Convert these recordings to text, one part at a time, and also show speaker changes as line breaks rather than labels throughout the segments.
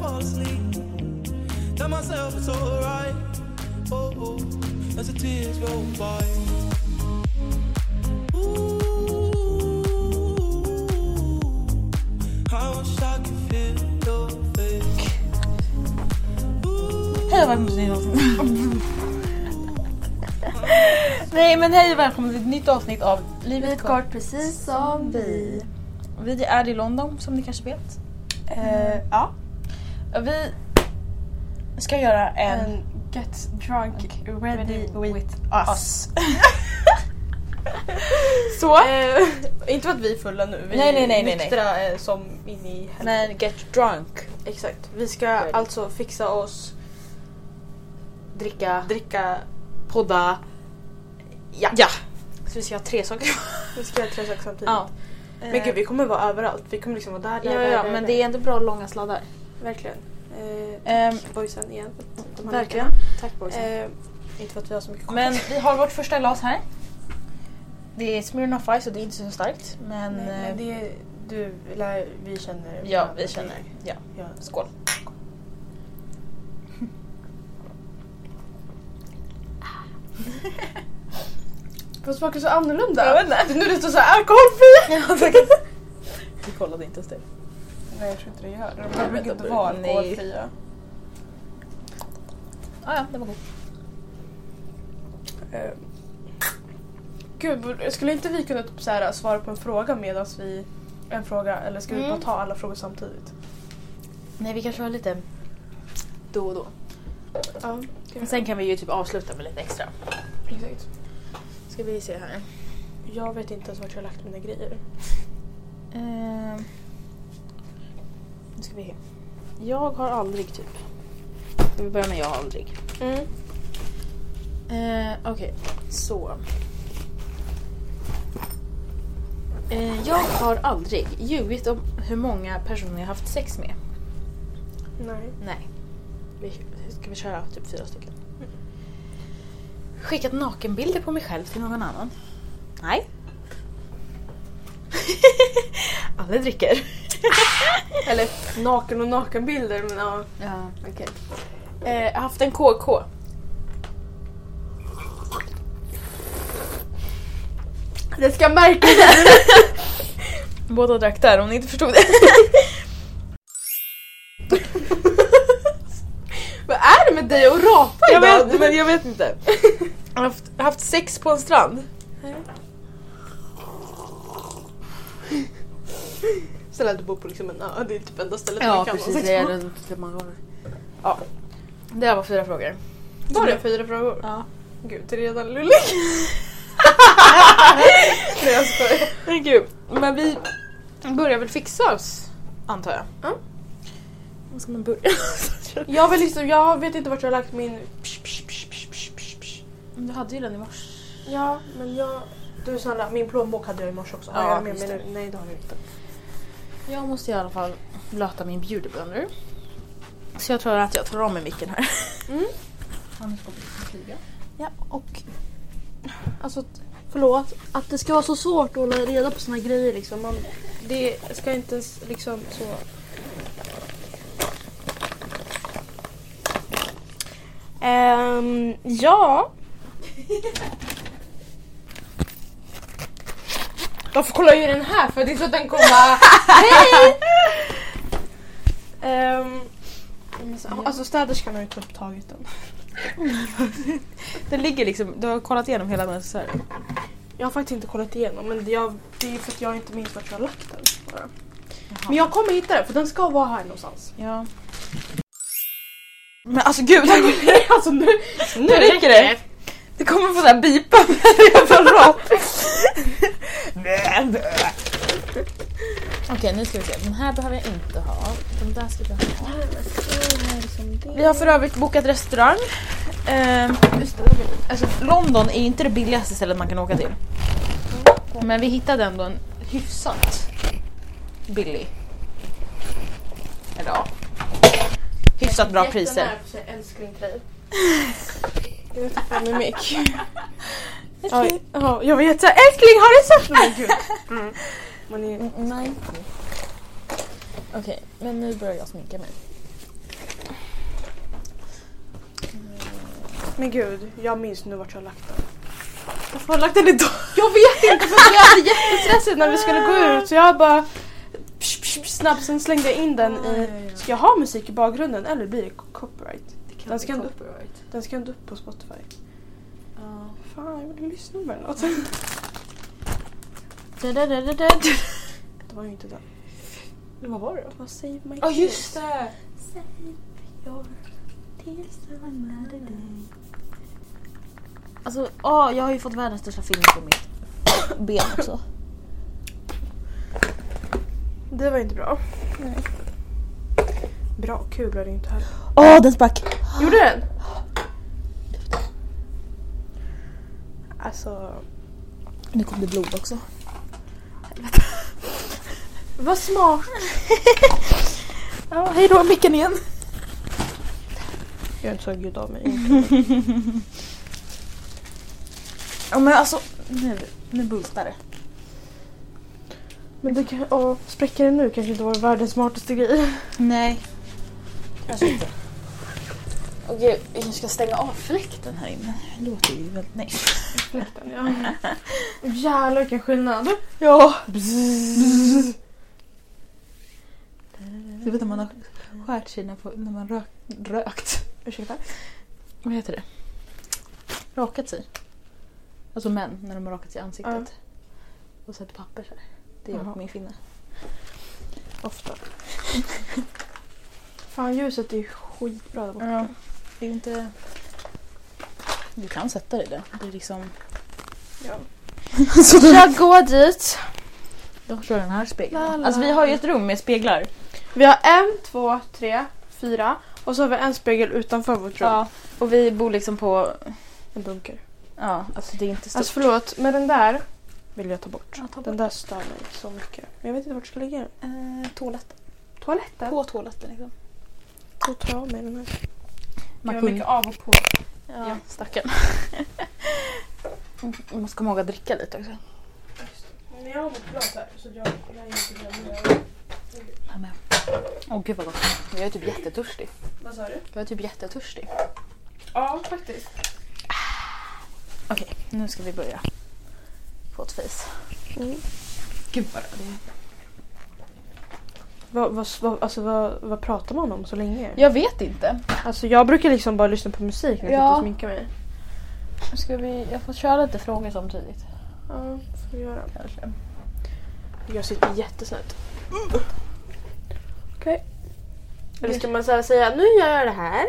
fall asleep. Tell myself it's alright. Oh, oh, as the tears roll by. Ooh, I wish I could feel your face.
Hej och välkommen till ett nytt avsnitt. Nej men hej och välkommen till ett nytt avsnitt av Livet
Livet kort precis som vi.
Vi är i London som ni kanske vet. Eh, ja. Vi ska göra en...
And get drunk, ready,
ready
with,
with
us.
oss.
Så.
Eh, inte för att vi är fulla nu, vi
Nej, nej, nej,
är
nej, nej.
nyktra eh, som in i helvete.
Nej, get drunk.
Exakt. Vi ska alltså fixa oss,
Dricka.
dricka, podda. Ja.
Ja.
Så vi ska ha tre saker. vi ska göra tre saker samtidigt.
Ja. Eh,
Men gud vi kommer vara överallt. Vi kommer liksom vara där, där,
Ja,
där,
ja,
där,
men
där.
det är ändå bra långa sladdar.
Verkligen. Eh,
Ehm,
boysen igen. De här
Verkligen.
veckorna.
Tack boys.
Eh, inte för att vi har så mycket
Men vi har vårt första glas här. Det är Smirnoff Ice och det är inte så starkt. Men,
Nej, men
eh,
det, du, eller, vi känner.
ja, vi känner. Ja.
Ja.
Skål.
Vad smakar så annorlunda?
Jag vet inte.
Det är nu det står såhär alkoholfri!
Vi kollade inte ens det.
Nej jag tror inte det gör det.
Nej,
De
men
brukar
de
inte vara
brukar- nej.
alkoholfria.
Ah, ja, det var god.
Eh, Gud, skulle inte vi kunna typ så här, svara på en fråga medan vi... En fråga, eller ska vi
Mm.
bara ta alla frågor samtidigt?
Nej, vi kanske har lite då och då.
Ja,
Men sen kan vi ju typ avsluta med lite extra.
exakt.
Ska vi se här.
Jag vet inte ens vart jag har lagt mina grejer.
Ehm. Nu ska vi se. Jag har aldrig typ. Vi börjar med jag har aldrig.
Mm.
Eh, Okej, så. Eh, jag har aldrig ljugit om hur många personer jag haft sex med.
Nej.
Nej. Vi, ska vi köra typ fyra stycken? Skickat nakenbilder på mig själv till någon annan? Nej. Alla dricker.
Eller naken och nakenbilder, men ja.
Ja.
Okej.
Eh, haft en KK.
Det ska märkas!
Båda drack där om ni inte förstod det.
Vad är det med dig och rapa
Jag
idag?
vet, men jag vet inte. Haft, haft sex på en strand.
Snälla du bor på liksom en ö, det är typ enda stället
Ja
du kan
precis,
sex
det är
på.
det inte många gånger. Ja. Det här var fyra frågor.
Var det fyra frågor?
Ja.
Gud, det är redan lullig. Nej jag skojar.
Men gud, men vi börjar väl fixa oss antar jag.
Ja.
Vad ska man börja?
Jag, vill liksom, jag vet inte vart jag har lagt min... Psh, psh, psh, psh, psh, psh, psh.
Du hade ju den i morse.
Ja, men jag... Du snälla, min plånbok hade jag i morse också. Har
Ja,
jag med
just
mig
det.
nu? Nej, det har jag inte.
Jag måste i alla fall blöta min beauty blender. Så jag tror att jag tar av mig micken här.
Mm.
Annars kommer vi flyga.
Ja, och... Alltså, t- förlåt. Att det ska vara så svårt att hålla reda på såna grejer liksom. Man,
Det ska inte ens liksom så... Ehm, ja. Varför kollar jag i den här för? Det är så att den kommer bara... Hej! Ehm, men så- alltså städerskan har ju typ tagit den.
Den ligger liksom, du har kollat igenom hela den så här.
Jag har faktiskt inte kollat igenom men det- jag, det är för att jag inte minns vart jag har lagt den. bara. Men jag kommer hitta den för den ska vara här någonstans.
Ja. Men alltså gud,
alltså nu,
nu räcker det. Det kommer få såhär bipa när jag får rap. Okej nu ska vi se, den här behöver jag inte ha. Den där ska jag ha. Vi har för övrigt bokat restaurang. Ehm, alltså, London är ju inte det billigaste stället man kan åka till. Men vi hittade ändå en hyfsat billig. Eller ja. Hyfsat bra priser.
Älskling till dig. Jag vet inte fan med mick.
Oj.
Ja, jag vet såhär, älskling har du sett mig? Gud. Man är...
Nej. Okej, men nu börjar jag sminka mig.
Men gud, jag minns nu vart jag har lagt den.
Varför har jag lagt den idag?
Jag vet inte för att jag blev jättestressad när vi skulle gå ut så jag bara psh, psh, psh, snabbt sen slängde jag in den i... Ska jag ha musik i bakgrunden eller blir det copyright? Den ska, ändå,
copyright.
den ska ändå upp på Spotify.
Ja.
Fan, jag vill lyssna på den Alltså, låten. Det var ju inte den.
Men vad var det då?
Vad säger man?
Ja just det! Alltså, åh, jag har ju fått världens största film på mitt ben också.
Det var inte bra. Bra kul är det inte heller.
Åh, den sprack!
Gjorde den? Alltså,
Nu kom det blod också.
vad smart.
Ja, hej då micken igen.
Jag är inte så gud av mig.
Ja men alltså, nu, nu bultar det.
Men det kan, åh, spräcka den nu kanske inte var världens smartaste grej.
Nej. Kanske inte. Och gud, jag ska stänga av fläkten här inne. Det låter ju väldigt nej.
Fläkten, ja. Jävlar vilken skillnad.
Ja. Du vet när man har skärt sig när, på, när man rök, rökt.
Ursäkta?
Vad heter det? Rakat sig. Alltså män, när de har rakat sig i ansiktet.
Ja.
Och satt papper så här. Det är
Jaha.
på min finne.
Ofta. Fan ljuset är ju skitbra där borta.
Ja. Det är ju inte... Du kan sätta dig där. Det är liksom...
Ja.
Alltså, de,
Jag går dit.
de kör den här spegeln.
La, la.
Alltså vi har ju ett rum med speglar.
Vi har en, två, tre, fyra och så har vi en spegel utanför vårt rum.
Ja. Och vi bor liksom på...
En bunker.
Ja, alltså det är inte stort.
Alltså förlåt, men den där vill jag ta bort.
Ja, ta bort.
Den där stör mig så mycket. Men jag vet inte vart jag ska lägga den.
eh, toaletten.
Toaletten?
På toaletten liksom.
Då tar jag av mig den
Man
här. Gud, vad
kunde-
mycket av och på.
Ja, stackarn. Man ska våga dricka lite också.
Men jag har mot glas här så jag lär inte glömma
Åh gud vad gott. Jag är typ jättetörstig.
Vad sa du?
Jag är typ jättetörstig.
Ja, faktiskt.
Okej, nu ska vi börja. På ett face. Gud vad röd jag är.
Vad, vad, vad, alltså, vad, vad pratar man om så länge?
Jag vet inte.
Alltså, jag brukar liksom bara lyssna på musik när jag
Ja.
sitter och sminkar mig.
Ska vi, jag får köra lite frågor samtidigt.
Ja, får vi göra.
Kanske.
Jag sitter jättesnett. Okej. Eller ska man så här säga nu gör jag det här?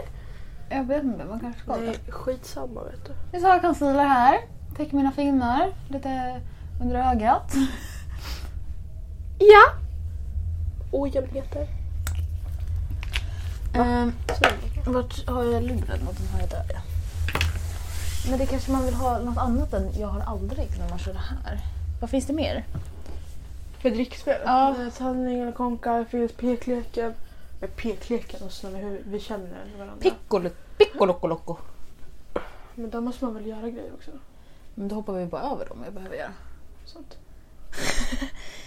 Jag vet inte, man kanske ska
Nej,
det.
skitsamma vet du.
Jag tar concealer här. Täcker mina finnar lite under ögat.
Ja! Ojämnheter.
Ehm,
Säger man.
Vart har jag luren? Vad den har jag där ja. Men det kanske man vill ha något annat än jag har aldrig när man kör det här. Vad finns det mer?
För drickspel?
Ja.
Eh, Sanning eller konka, det finns pekleken. Men pekleken och så när vi, vi känner varandra.
Piccolo, piccoloccolocco.
Men då måste man väl göra grejer också?
Men då hoppar vi bara över dem jag behöver göra.
Sånt.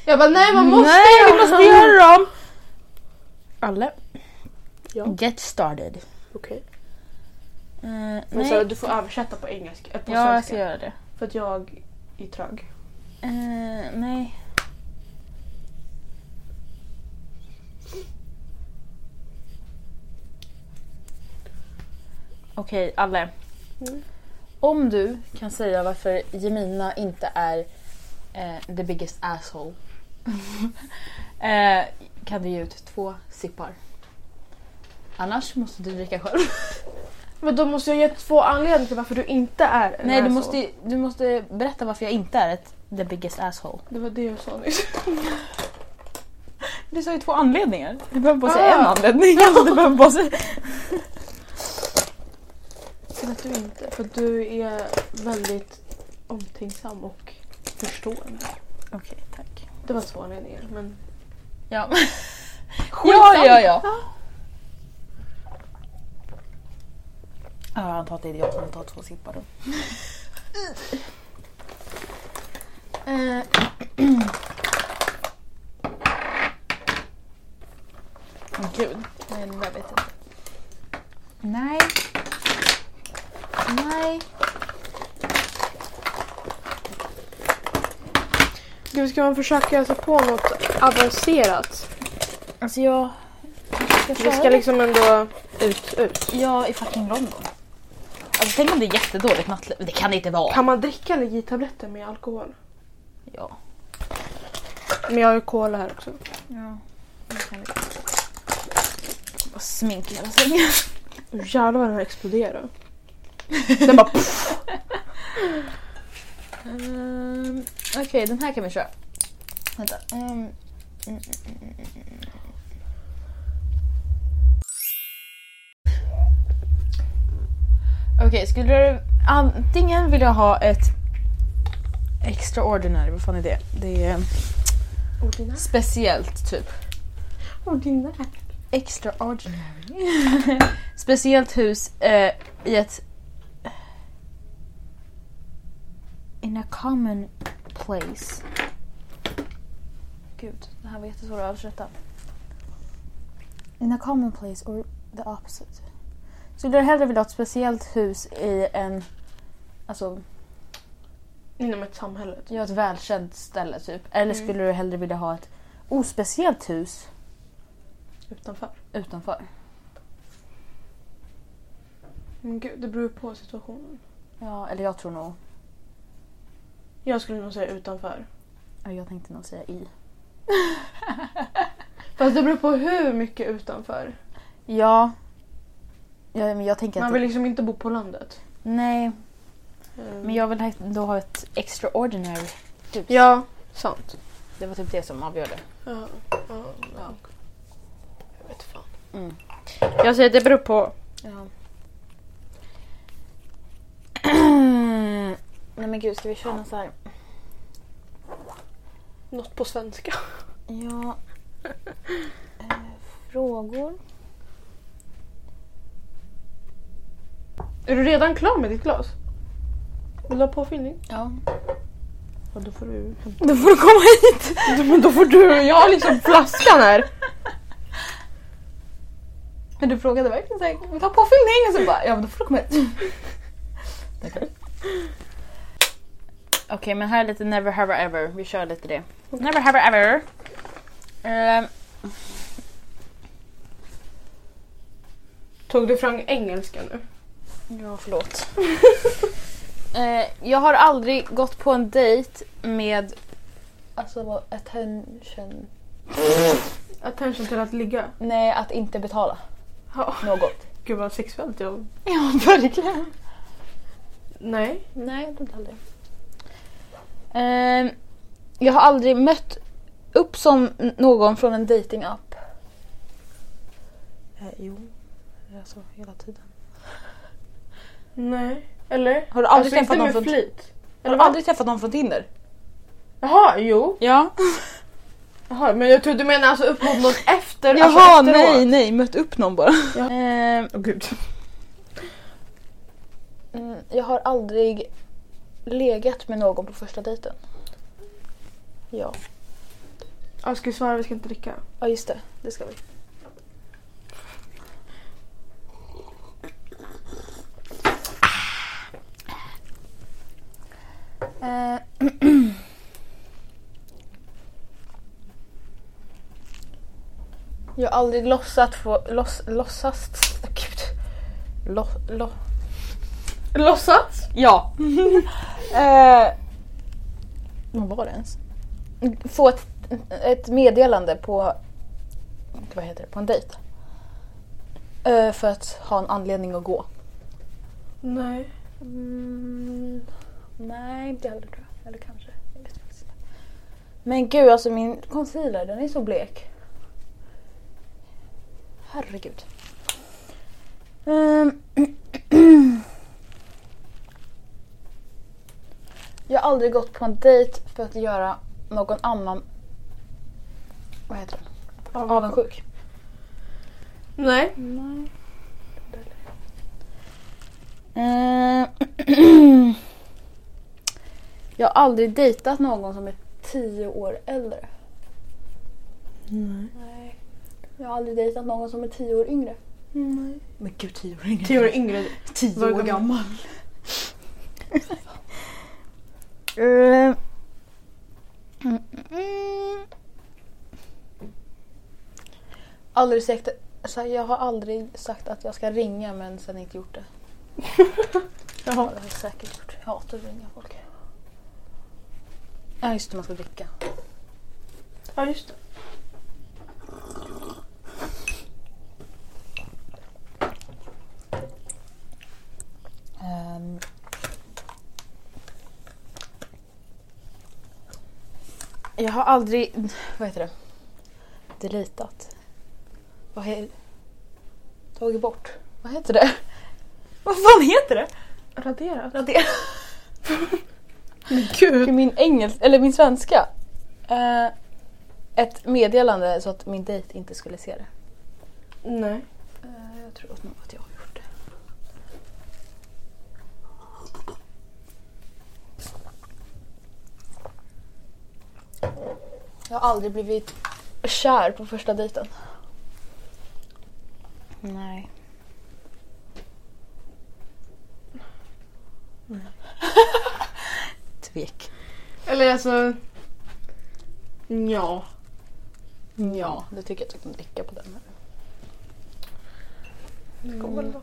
jag bara nej man måste!
Nej,
vi måste göra dem!
Alle.
Ja.
Get started.
Okej.
Eh,
Men Sara,
nej.
du får översätta på engelska. eh, På
Ja, jag ska
svenska.
göra det.
För att jag är trög.
Eh, nej. Okej, Alle.
Mm.
Om du kan säga varför Jemina inte är eh, the biggest asshole eh, kan du ge ut två sippar. Annars måste du dricka själv.
Men då måste jag ge två anledningar till varför du inte är en
Nej, du
asshole.
måste, du måste berätta varför jag inte är ett, the biggest asshole.
Det var det jag sa nyss.
Du sa ju två anledningar. Du behöver bara
säga en
anledning. Alltså, du behöver bara säga...
Till att du inte. För du är väldigt omtänksam och förstående.
Okej, tack.
Det var två anledningar men...
Ja. ja, ja, ja. Ja, jag antar att det är jag som tar två sippar då. Eh, Åh, Gud. Nej, det där vet jag inte. Nej. Nej.
Gud, ska man försöka sig på något avancerat?
Alltså jag... Ska
Vi ska liksom ändå ut, ut.
Ja, i fucking London. Alltså tänk om det är jättedåligt nattliv. Det kan det inte vara.
Kan man dricka allergitabletter med alkohol?
Ja.
Men jag har ju cola här också.
Ja. Och smink i hela sängen.
Jävlar vad den här exploderar. Den bara pff,
Ehm, Okej, den här kan vi köra. Vänta. Ehm, mm, mm, mm, mm, mm. Okej, skulle du... Antingen vill jag ha ett extraordinary, vad fan är det? Det är
ordinär.
speciellt typ.
Ordinär.
Extraordinary. Speciellt hus eh, i ett... In a common place. Gud, det här var jättesvårt att översätta. In a common place or the opposite. Skulle du hellre vilja ha ett speciellt hus i en... Alltså,
Inom ett samhälle. typ.
ja, ett välkänt ställe typ. Eller skulle du hellre vilja ha ett ospeciellt hus
Utanför.
utanför?
Men gud, det beror ju på situationen.
Ja, eller jag tror nog...
Jag skulle nog säga utanför.
ja, Jag tänkte nog säga i.
Fast det beror på hur mycket utanför.
Ja. ja men jag tänker att...
Man vill liksom inte bo på landet.
Nej,
Mm.
men jag vill då ha ett extraordinary hus.
Ja, sant.
Det var typ det som avgjorde.
Ja, ja, ja. Jag vet fan.
Mm.
Jag säger det beror på.
Ja. Nej men gud, ska vi köra någon så här?
Något på svenska.
Ja. Eh, frågor?
Är du redan klar med ditt glas? Vill du ha påfyllning?
Ja.
Ja, då får du hämta.
Då får du komma hit!
Men då får du, jag har liksom flaskan här.
Men du frågade verkligen såhär, vill du ha påfyllning? Och så bara, ja men då får du komma hit. Okej men här är lite never have ever. Vi kör lite det. Never have ever. Ehm,
Tog du fram engelska nu?
Ja, förlåt. eh, jag har aldrig gått på en dejt med... Alltså vad- attention...
Attention till att ligga.
Nej, att inte betala
Ja.
något.
Gud vad sexuellt jag...
ja, verkligen.
Nej.
Nej, jag tror inte aldrig. Eh, jag har aldrig mött upp som någon från en datingapp. Eh, jo, alltså hela tiden.
Nej. Eller?
Har du aldrig
alltså,
träffat
inte
någon
med
från...
flit?
Har du aldrig träffat någon från Tinder?
Jaha, jo.
Ja.
Jaha, men jag tror du menar alltså upp mot någon efter?
Jaha,
alltså
nej,
efteråt.
nej, mött upp någon bara.
Ja.
Eh,
Åh gud.
Mm, jag har aldrig legat med någon på första dejten. Ja,
Ja, ska vi svara? Vi ska inte dricka.
ja just det. Det ska vi. Eh, Jag har aldrig låtsat få... Låts, låtsas... Gud. Lå, lå,
Låtsats?
Ja. eh, vad var det ens? Få ett, ett meddelande på, vad heter det, på en dejt. Eh, för att ha en anledning att gå.
Nej.
Mm, nej, inte heller tror jag. Eller kanske. Jag vet faktiskt inte. Men gud, alltså min concealer den är så blek. Herregud. Ehm, jag har aldrig gått på en dejt för att göra någon annan vad heter det? avundsjuk.
Nej.
Nej. Eh, jag har aldrig dejtat någon som är tio år äldre.
Nej.
Nej. Jag har aldrig dejtat någon som är tio år yngre.
Nej.
Men gud, tio år yngre?
Tio år yngre.
Tio
Var gammal.
Mm, mm, mm. Aldrig sagt, så jag har aldrig sagt att jag ska ringa men sen inte gjort det. Ja, det har jag säkert gjort. Jag hatar att ringa folk. Ja just det, man ska dricka.
Ja, just det.
Ehm. Jag har aldrig, vad heter det, deletat. Vad heter Tagit bort. Vad heter det? Vad fan heter det?
Radera?
Radera.
Gud.
Till min engelska, eller min svenska. Eh, ett meddelande så att min dejt inte skulle se det.
Nej.
Eh, jag tror att nog att jag har gjort det. Jag har aldrig blivit kär på första dejten. Nej. Tvek.
Eller alltså... Ja.
Ja, det tycker jag att jag kan dricka på den. här.
Skål då.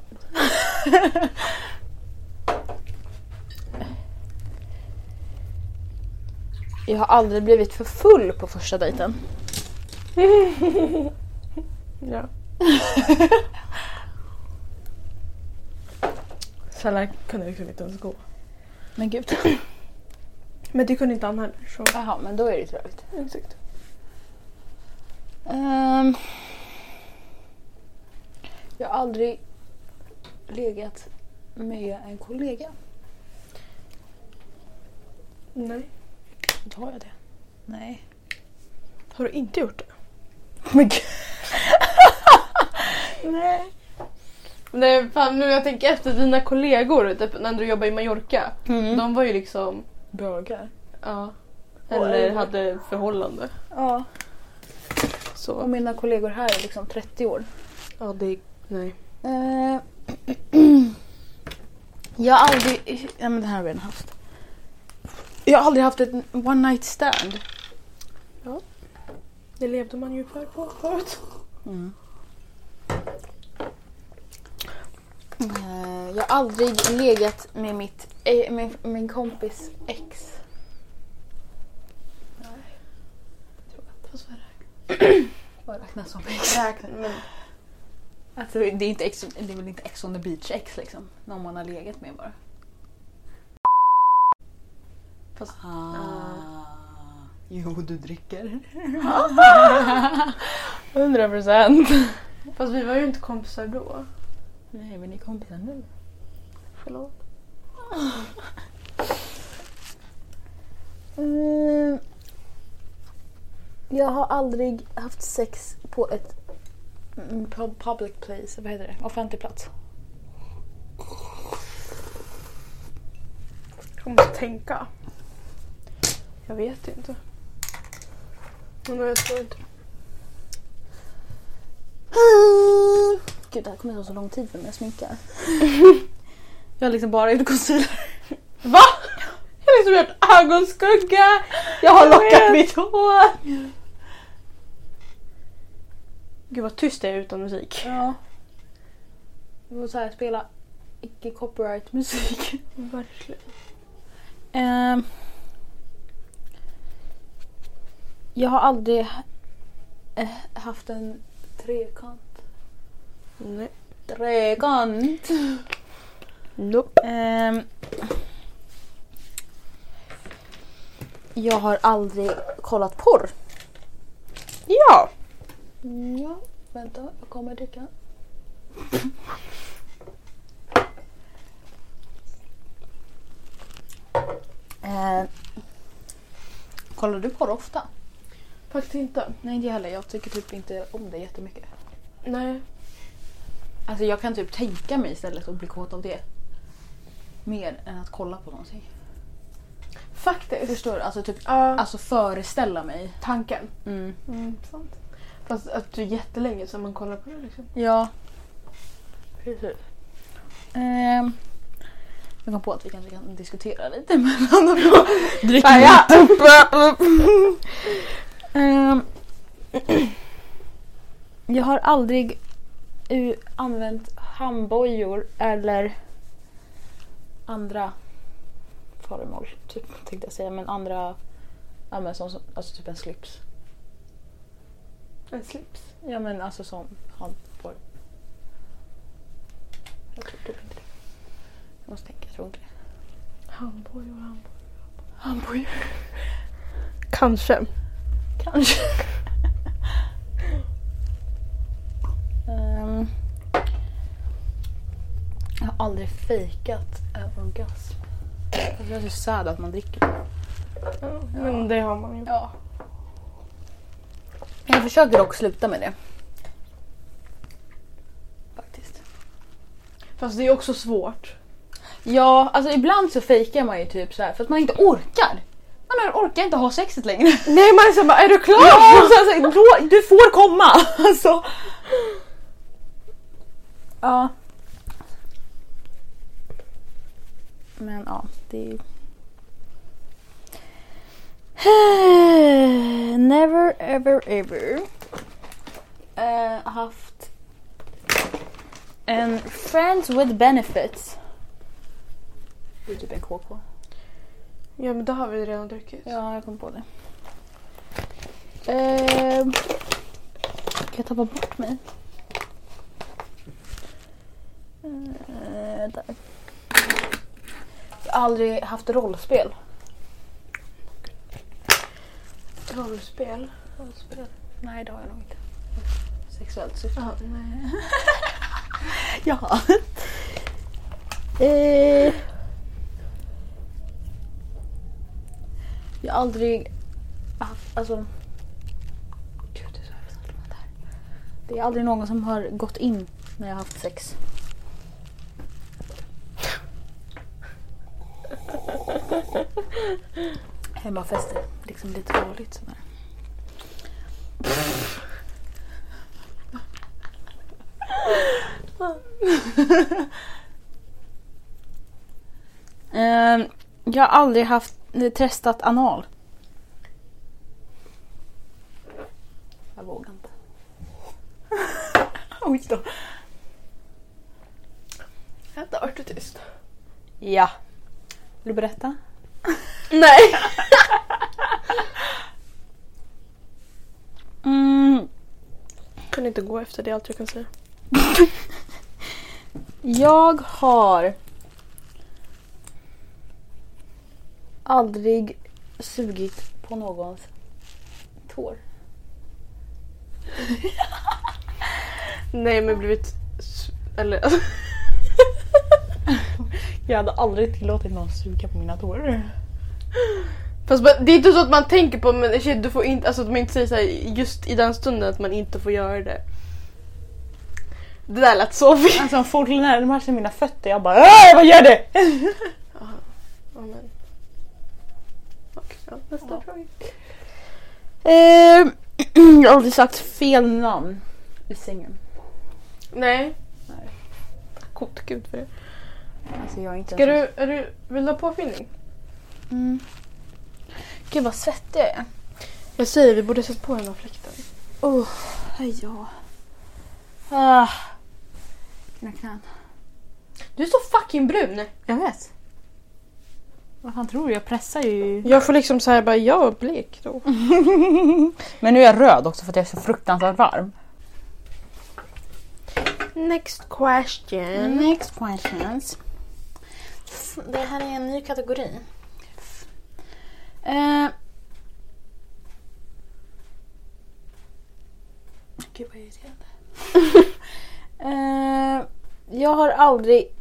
Jag har aldrig blivit för full på första dejten.
Ja. Sällan kunde liksom inte ens gå.
Men gud.
Men det kunde inte han heller. Så.
Jaha, men då är det trevligt.
Exakt.
Ehm. jag har aldrig legat med en kollega.
Nej.
Då har jag det. Nej.
Har du inte gjort det?
Men gud.
Nej. Nej, fan nu jag tänker efter. Dina kollegor typ, när du jobbade i Mallorca.
Mm.
De var ju liksom...
Bögar.
Ja.
Oj.
Eller hade förhållande.
Ja. Och
Så.
mina kollegor här är liksom 30 år.
Ja, det... Nej.
Eh, jag har aldrig... Ja, men det här har vi redan haft. Jag har aldrig haft ett one night stand.
Det levde man ju för på förut.
Eh, jag har aldrig legat med mitt, eh, med min kompis ex.
Fast vad är det?
Vad räknas som ex?
men...
Alltså, det, är inte ex det är väl inte ex on the beach ex liksom? Någon man har legat med bara.
Fast-
Jo, du dricker. 100 procent.
Fast vi var ju inte kompisar då.
Nej, men ni är kompisar nu.
Förlåt.
Mm. Jag har aldrig haft sex på ett mm, pub- public place, vad heter det? Offentlig plats.
Jag måste tänka. Jag vet inte. Men jag tror inte.
Gud, det här kommer ta så lång tid för mig att sminka. jag har liksom bara gjort concealer.
Va? Jag har liksom gjort ögonskugga.
Jag har lockat
vet.
mitt hår.
Gud vad tyst det är utan musik.
Ja. Jag får så här spela icke copyright musik.
Verkligen.
Ehm. jag har aldrig eh, haft en trekant.
Nej.
Trekant.
Nope.
Ehm. jag har aldrig kollat porr.
Ja.
Ja, vänta, jag kommer dricka. eh, kollar du porr ofta?
Faktiskt inte.
Nej, inte heller. Jag tycker typ inte om det jättemycket.
Nej.
Alltså jag kan typ tänka mig istället att bli kåt av det. Mer än att kolla på någonting.
Faktiskt.
Förstår du? Alltså, typ,
Ja.
alltså föreställa mig.
tanken.
Mm.
Mm, sant. Fast att det är jättelänge sedan man kollar på det liksom.
Ja.
Precis.
Ehm, Jag kom på att vi kanske kan diskutera lite med varandra. Drick
Fan, ja.
Ehm, Jag har aldrig u- använt handbojor eller andra föremål, typ, tänkte jag säga. Men andra, ja, men som, som, alltså typ en slips.
En slips.
Ja men alltså som handboj. Jag tror typ inte det. Jag måste tänka, jag tror inte det.
Handbojor, handbojor.
Handbojor?
Kanske.
Kanske. Ehm, jag har aldrig fejkat en orgasm. Alltså, jag är så sad att man dricker.
Men det har man ju.
Ja. Jag försöker dock sluta med det. Faktiskt.
Fast det är också svårt.
Ja, alltså ibland så fejkar man ju typ så här för att man inte orkar. Man orkar inte ha sexet längre.
Nej man är såhär bara, är du klar?
Ja! Så alltså, då, du får komma! Alltså. Ja. Men ja, det är ju... Never ever ever eh, haft en friends with benefits. Det är typ en KK.
Ja men det har vi redan druckit.
Ja, jag kom på det. Ehm, jag tappar bort mig? Ehm, där. Jag har aldrig haft rollspel.
Rollspel.
Nej, det har jag nog inte. Sexuellt syfte.
Ja, nej.
Ja. eh. Jag har aldrig haft, alltså... Gud, det är så här med det här. Det är aldrig någon som har gått in när jag har haft sex. Hemmafester, liksom lite dåligt sådär. Ehm, jag har aldrig haft eh, testat anal. Jag vågar inte. Oj då.
Vänta, vart du tyst?
Ja. Vill du berätta?
Nej!
Mm,
Kunde inte gå efter det allt jag kan säga.
jag har aldrig sugit på någons tår.
Nej men blivit... s- Eller alltså,
Jag hade aldrig tillåtit någon suga på mina tår.
Fast ba- det är inte så att man tänker på men shit, du får inte, alltså att man inte säger såhär just i den stunden att man inte får göra det. Det där lät så fel.
Alltså om folk närmar sig mina fötter, jag bara "Åh, vad gör du?
Ja, men. Okej, ja, nästa
Ja.
fråga.
Eh, jag har aldrig sagt fel namn i sängen.
Nej.
Nej.
God gud för det.
Alltså jag är inte
Ska du, är du, vill du ha påfyllning?
Mm. Gud vad svettig jag är.
Jag säger vi borde sätta på den här fläkten.
Oh, ja. Ah. Mina knän.
Du är så fucking brun.
Jag vet. Vad fan tror du? Jag pressar ju.
Jag får liksom såhär bara, jag var blek då.
Men nu är jag röd också för att jag är så fruktansvärt varm.
Next question.
Next questions. Mm. Det här är en ny kategori. Eh. Gud vad irriterande. eh, jag har aldrig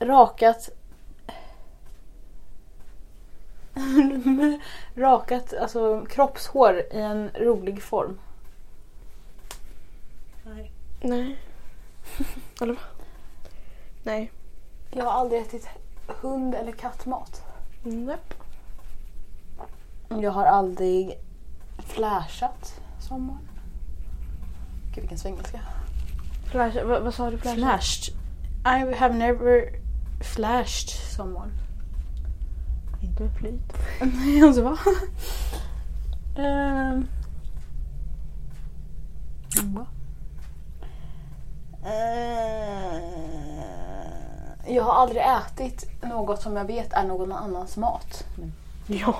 rakat rakat alltså kroppshår i en rolig form.
Nej. Eller va? Nej.
Jag har aldrig ätit hund eller kattmat.
Nej.
Jag har aldrig flashat sommaren. Gud vilken svengelska.
Flash, vad, vad sa du? Flash?
Flashed. I have never
flashed someone.
Inte med flyt.
Nej, alltså va?
Ehm. va?
Ehm. Jag har aldrig ätit något som jag vet är någon annans mat.
Ja.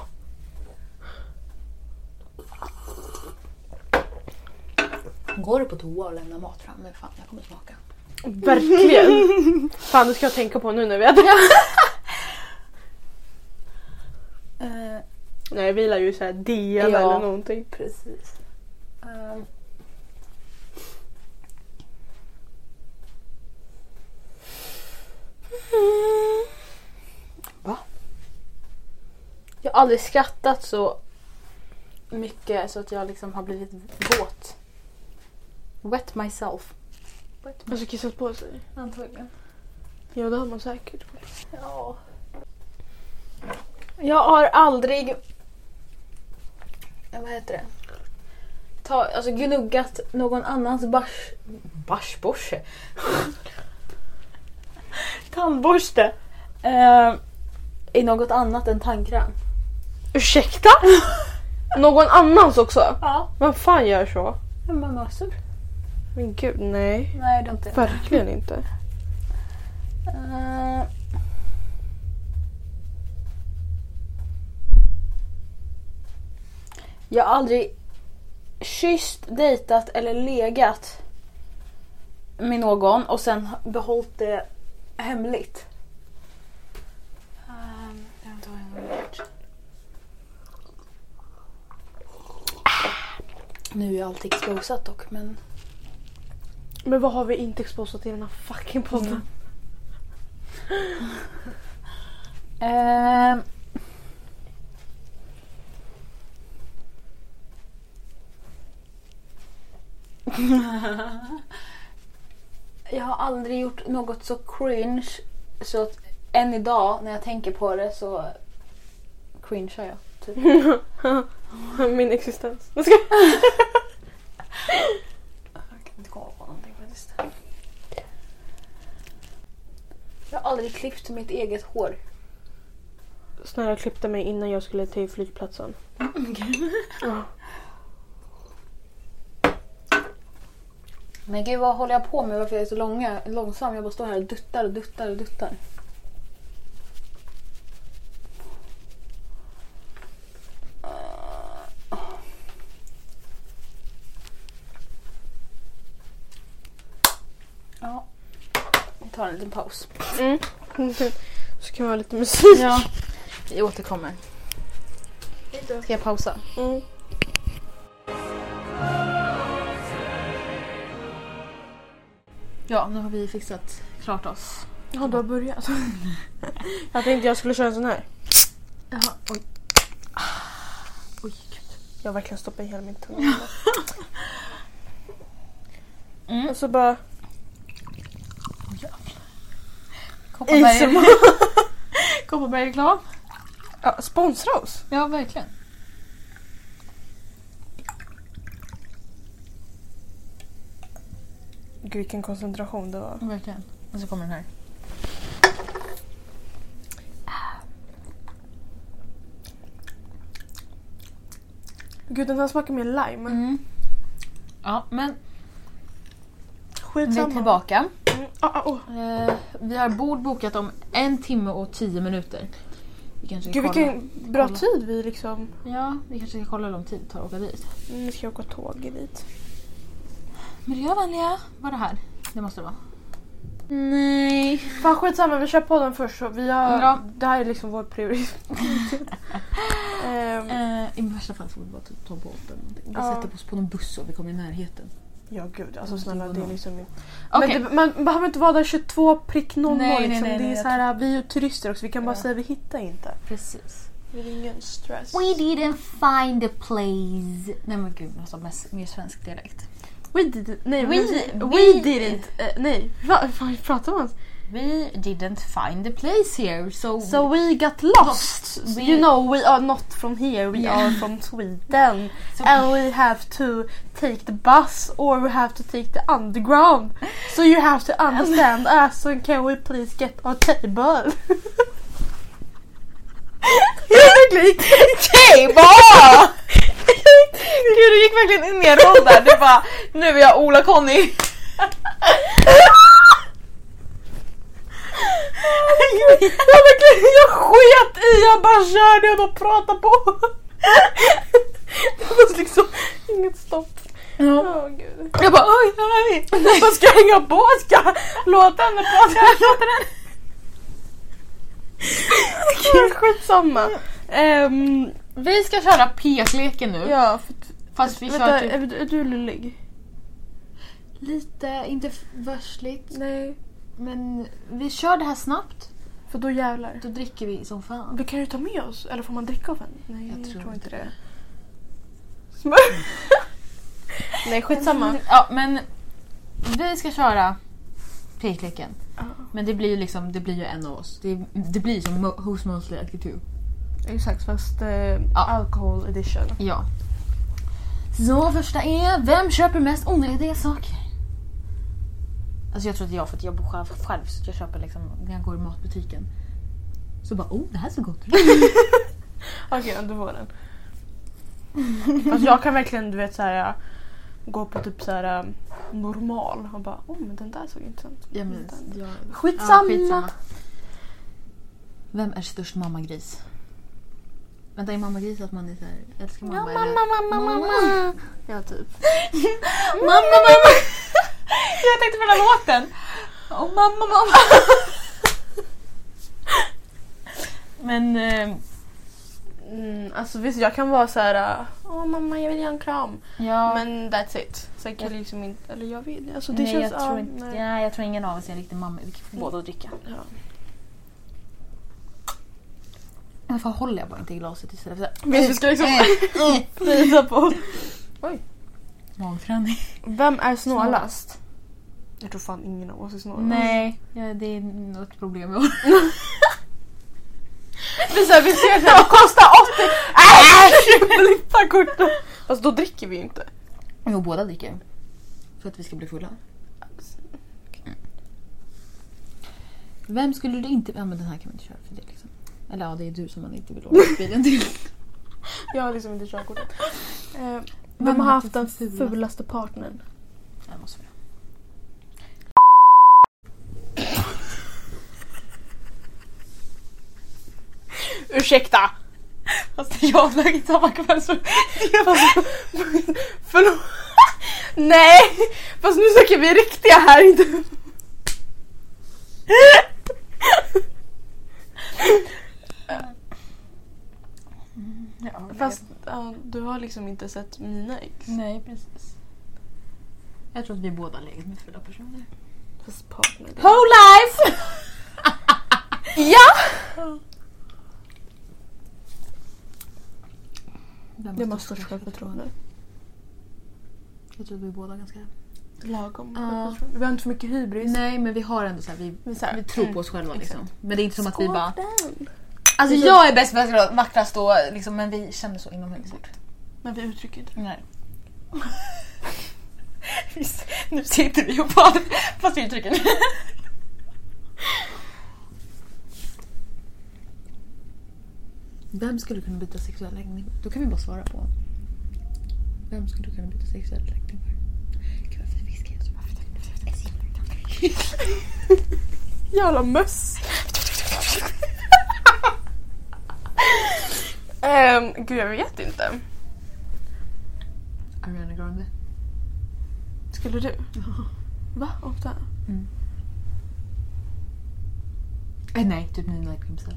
Går du på toa och lämnar mat fram? Men fan, jag kommer smaka.
Verkligen. Fan, det ska jag tänka på nu när vi äter.
Eh,
Nej, vi lär ju såhär DN
Ja.
eller någonting.
precis. Ehm.
Jag har aldrig skrattat så mycket så att jag liksom har blivit våt.
Wet myself.
Alltså kissat på sig.
Antagligen.
Ja, det har man säkert.
Ja.
Jag har aldrig
Vad heter det? Ta, alltså gnuggat någon annans bars... Barsborste?
tandborste.
Eh, I något annat än tandkräm.
Ursäkta? Någon annans också?
Ja.
Vem fan gör så?
Men massor.
Men gud, nej.
Nej, det är inte.
Verkligen inte.
Eh, Jag har aldrig kysst, dejtat eller legat med någon och sen behållit det hemligt. Ehm, jag vet inte vad jag har gjort. Nu är allt exposat dock men...
Men vad har vi inte exposat i den här fucking podden?
Ehm. jag har aldrig gjort något så cringe så att än idag när jag tänker på det så cringear jag. Typ.
Min existens. Jag ska...
Jag kan inte komma på någonting faktiskt. Jag har aldrig klippt mitt eget hår.
Snälla klippte mig innan jag skulle till flygplatsen. Ja.
Men gud vad håller jag på med? Varför är jag så långa, långsam? Jag bara står här och duttar och duttar och duttar. Ja, vi tar en liten paus.
Mm. Så kan vi ha lite musik.
Ja. Vi återkommer. Ska jag pausa?
Mm.
Ja, nu har vi fixat klart oss.
Ja, du har börjat. jag tänkte jag skulle köra en sån här.
Jaha, oj.
Ah, Oj, gud. Jag har verkligen stoppat i hela min tunga.
Mm.
Och så bara...
Kopparberg. Kopparberg är klar.
Ja, sponsra oss!
Ja, verkligen.
Gud, vilken koncentration det var.
Verkligen. Och så kommer den här.
Gud, den här smakar mer lime.
Mm. Ja, men vi
Skitsamma.
är tillbaka.
Mm. Ah, ah, oh.
Eh, vi har bord bokat om en timme och tio minuter. Vi kanske ska
Gud,
kolla.
vilken bra
Kolla.
tid vi liksom...
Ja, vi kanske ska kolla hur lång tid det tar att åka dit.
Nu ska jag åka tåg dit.
Miljövänliga var det här. Det måste det vara. Nej.
Fan skitsamma, vi kör podden först. Så vi har,
Ja.
Det här är liksom vår prioritering. Ehm,
Eh, I värsta fall får vi bara ta båten. eller någonting. Vi
Ja.
sätter oss på någon buss och vi kommer i närheten.
ja gud, alltså
Mm,
snälla
det
det är
var
liksom...
Okej,
Men det, man behöver inte vara där 22 prick 00
Nej, nej,
liksom.
nej,
det
nej,
är
jag
så här, vi är ju turister också, vi kan bara
Ja.
säga vi hittar inte.
precis.
Det är ingen stress.
We didn't find a place. Nej men gud, alltså mest, mer svensk dialekt.
We did,
We-
nej, we,
we-
we, didn't. eh, nej, vad va, hur pratar man?
We didn't find a place here so...
So we got lost.
Lost. Oh. We-
You know we are not from here, we
Yeah.
are from Sweden.
so-
And we have to take the bus or we have to take the underground. So you have to understand us and can we please get a table?
Okej, vad? Gud, du gick verkligen in i en roll där. Du bara, nu är jag Ola-Conny. jag, verkligen, jag sket i, jag bara körde, jag bara pratade på. Det var liksom inget stopp.
Åh gud.
Jag bara, oj, här är vi.
Vad ska jag hänga på? Ska jag låta henne prata? Men Skitsamma. Um,
Vi ska köra pekleken nu.
ja, för,
Fast vi kör
vänta,
typ...
är, är du lullig?
Lite, inte f- värstligt.
Nej.
Men vi kör det här snabbt.
För då jävlar.
Då dricker vi som fan.
Vi kan ju ta med oss, eller får man dricka av en? Nej,
Jag tror inte
det. Nej, skitsamma.
Ja, men vi ska köra pekleken.
Ja.
Men det blir ju liksom, det blir ju en av oss. Det, det blir ju som mo- Who's Mostly at Couture.
Exakt, fast eh, alcohol edition.
Ja.
Så första är, vem köper mest onödiga saker?
Alltså jag tror att jag, för att jag bor själv, själv så jag köper liksom, när jag går i matbutiken. Så bara oh, det här ser gott ut.
Okej, okay, du får den. Alltså jag kan verkligen du vet så här gå på typ så här um, normal och bara oh men den där såg intressant ut.
Ja,
Den
men,
där.
jag,
Skitsamma.
Ja, Vem är störst mammagris? Vänta, är mammagris att man är såhär, älskar mamma? eller?
mamma, mamma. Ja typ.
Mamma, mamma! Jag tänkte på den här låten. Åh, mamma, mamma. Men... eh,
Mm, alltså visst jag kan vara så här åh mamma jag vill ge en kram.
Ja,
Men that's it. Sen kan jag liksom inte, eller jag vet alltså det
nej,
känns.
jag tror
ja,
inte,
nej.
nej, jag tror ingen av oss är en riktig mamma. Vi kan få båda att dricka.
Ja.
Varför håller jag bara inte i glaset istället för såhär?
Men vi ska liksom
Mm.
visa på. Oj.
Magträning.
Vem är snålast? Jag tror fan ingen av oss är snålast.
Mm. Nej, ja, det är något problem jag har.
Vi, så här, vi ser såhär, kostar 80! Äsch! Blippa korten! Alltså då dricker vi ju inte.
Jo, båda dricker. För att vi ska bli fulla. Vem skulle du inte... Ja, men den här kan vi inte köra för det liksom. Eller ja, det är du som man inte vill låna bilen till.
Jag har liksom inte körkortet. Eh,
Vem
vem har
har
haft den
den fulaste?
fulaste partnern?
Nej, måste vi.
Ursäkta!
Fast jag flög samma kväll så...
Förlåt! Nej! Fast nu söker vi riktiga här inte... Fast ja, du har liksom inte sett mina ex.
Nej, precis. Jag tror att vi båda har legat med fulla personer.
Fast partner. det-
Whole life!
Ja!
Vem
Det måste störst självförtroende.
Jag tror att vi båda har ganska...
Lagom
Ja.
självförtroende. Vi har inte för mycket hybris.
Nej, men vi har ändå så här, vi,
Men så här,
vi tror på oss själva liksom. Men det är inte som att vi bara...
den.
Alltså jag är bäst, bäst, vackrast då liksom, men vi känner så inomhus.
Men vi uttrycker inte
Nej. Visst, nu sitter vi och bara... Fast vi uttrycker det. Vem skulle kunna byta sexuell läggning? Då kan vi bara svara på. Vem skulle kunna byta sexuell läggning? Gud varför viskar jag så?
Jävla möss!
Ehm,
um, gud jag vet inte.
Ariana Grande.
Skulle du? Va? Ofta?
Eh, nej, typ Nina Kimsel.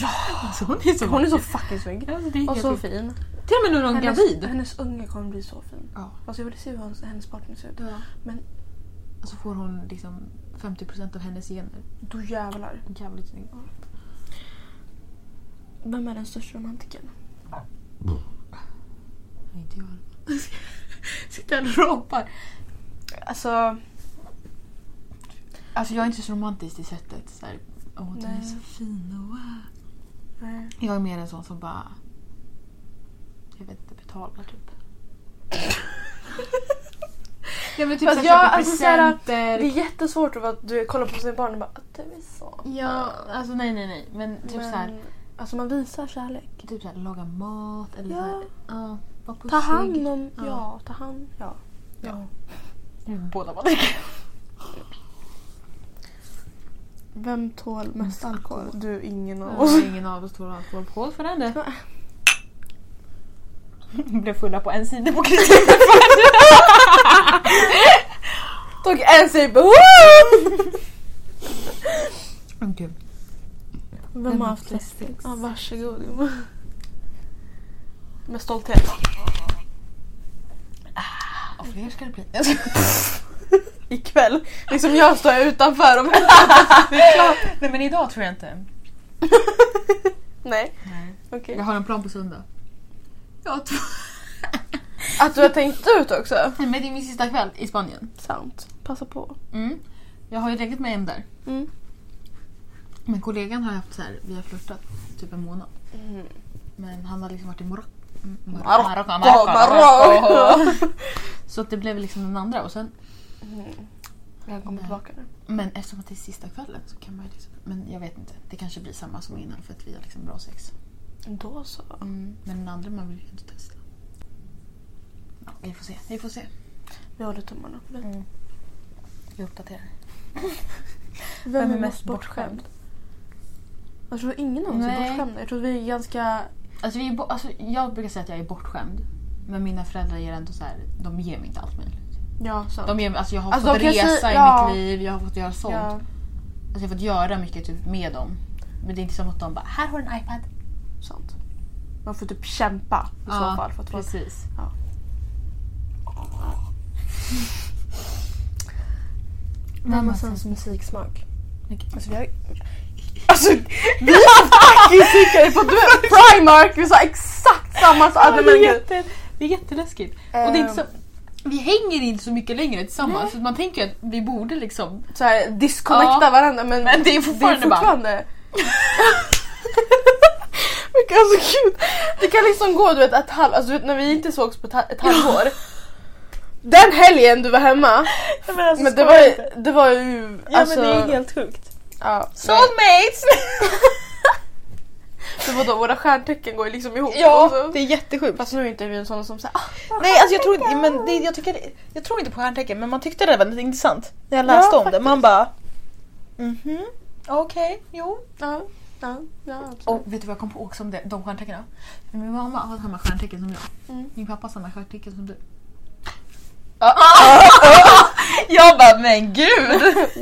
Ja!
Alltså hon är så
Hon är så fucking snygg.
Alltså, det är
Och
helt
så
sjukt.
fin.
Till och med nu när hon är gravid.
hennes unge kommer bli så fin.
Ja.
Alltså jag vill se hur hans- hennes partner ser ut.
Och så får hon liksom 50% av hennes gener.
Då jävlar.
Jävligt snygg.
Vem är den största romantikern?
Nej, inte jag. Sitter här och ropar.
Alltså,
Alltså jag är inte så romantisk i sättet. Så här, Åh, du är
Nej.
så fin och wow.
nej.
Jag är mer en sån som bara... Jag vet inte, betalar typ.
Ja men typ
Fast
såhär, köpa
jag- alltså, såhär,
presenter.
Det är jättesvårt att vara- du kollar på sina barn och bara att du är så.
Ja, alltså nej nej nej. Men typ
Men,
såhär,
Alltså man visar kärlek.
typ såhär laga mat eller
Ja.
såhär. Ja. var
Ta
pussig.
hand om,
Ja.
ja. ta hand, ja.
Mm, Båda var
Vem tål mest alkohol? Du, ingen av oss.
det. Ingen av oss tog alkohol på för den det. Blev fulla på en sida på kritik.
Tog en sig behov!
Gud.
Vem har haft flest?
flest sex?
Ja, varsågod gumman. Med stolthet.
Ja, fler ska det bli. Jag skojar.
Ikväll. Liksom jag står utanför och
Nej men idag tror jag inte.
Nej,
Nej.
okej.
Jag har en plan på söndag. Jag tror...
Att du har tänkt ut också.
Nej, men det är min sista kväll i Spanien.
Sant. Passa på.
Mm. Jag har ju reglat mig hem där.
Mm.
Men kollegan har haft så här, vi har flörtat typ en månad.
Mm.
Men han har liksom varit i Marocko.
Marocko,
Så att det blev liksom den andra och sen...
Jag kommer tillbaka nu.
Men eftersom att det är sista kvällen så kan man ju liksom... Men jag vet inte, det kanske blir samma som innan för att vi har liksom bra sex.
Då så.
Men den andra man vill ju inte testa. Ja, vi får se, vi får se.
Vi håller tummarna för det.
Jag uppdaterar.
Vem,
är mest
är mest bortskämd? Jag tror ingen av oss är
Nej.
bortskämda. Jag tror vi är ganska...
Alltså, vi är bo- alltså, jag brukar säga att jag är bortskämd. Men mina föräldrar ger ändå så här, de ger mig inte allt möjligt.
Ja, sant.
De ger mig, alltså, jag har
Alltså,
fått
de kan
resa
säga-
i
ja.
mitt liv, jag har fått göra sånt.
ja.
Alltså, jag har fått göra mycket typ, med dem. Men det är inte som att de bara “här har du en iPad”.
Sant. Man får typ kämpa i så fall. För att vara...
precis.
Ja. Vem har sämst musiksmak? Alltså vi har Alltså vi har haft fucking psykare på du- Primark, vi sa exakt samma sak. Alltså,
det,
men
är
gud.
jätte, det är jätteläskigt. Och det är inte så, vi hänger inte så mycket längre tillsammans. Så man tänker ju att vi borde liksom...
så här, disconnecta
Ja.
varandra men,
Men det är fortfarande bara-
fortfarande- Vilket är så kul! alltså, Det kan liksom gå du vet, ett halv, alltså, du vet, när vi inte sågs på ett, ha- ett halvår. Den helgen du var hemma,
Men, alltså,
men det var, ju- det var ju...
Ja
alltså,
men det är ju helt sjukt.
ja.
Soulmates!
Det var då våra stjärntecken går ju liksom ihop. Och så-
är jättesjukt.
Fast nu är inte vi en sån som säger ah,
Nej alltså jag tror inte, men det, jag, tycker, det- jag tror inte på stjärntecken men man tyckte det var lite intressant. När jag läste om det. Man bara... Mhm. Okej, jo.
ja, ja, ja. alltså." absolut."
Och vet du vad jag kom på också om det, de stjärntecknen? Min mamma har samma stjärntecken som jag.
Mm.
Min pappa har samma stjärntecken som du. Ah. jag bara men gud!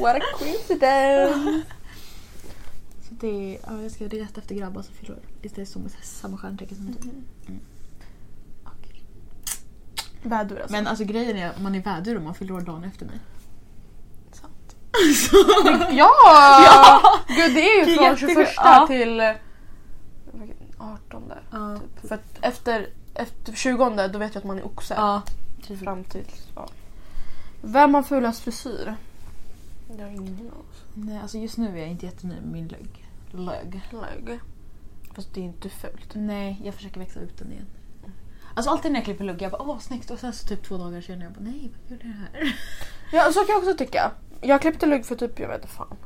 What a coincidence!
Så det är, ja, jag ska leta efter grabbar som fyller år. Istället som samma stjärntecken som du. Mm. Okej.
Vädur alltså.
Men alltså grejen är att man är vädur om man fyller år dagen efter mig.
Sant.
Så-
Ja!
Ja!
Gud det är ju
Det är
från
jättesjukt.
21
Ja.
till eh, 18 där.
Ja.
Typ. För att efter, efter 20 då vet jag att man är oxe.
Ja.
Fram till, ja. Vem har fulast frisyr? Jag har ingen av oss.
Nej, alltså just nu är jag inte jättenöjd med min lögg. Lögg.
Lög. Fast det är inte fult.
Nej, jag försöker växa ut den igen. Alltså alltid när jag klipper lugg, jag bara åh vad snyggt och sen så typ två dagar senare jag bara nej vad gjorde jag här?
Ja, så kan jag också tycka. Jag klippte lugg för typ, jag vet inte fan.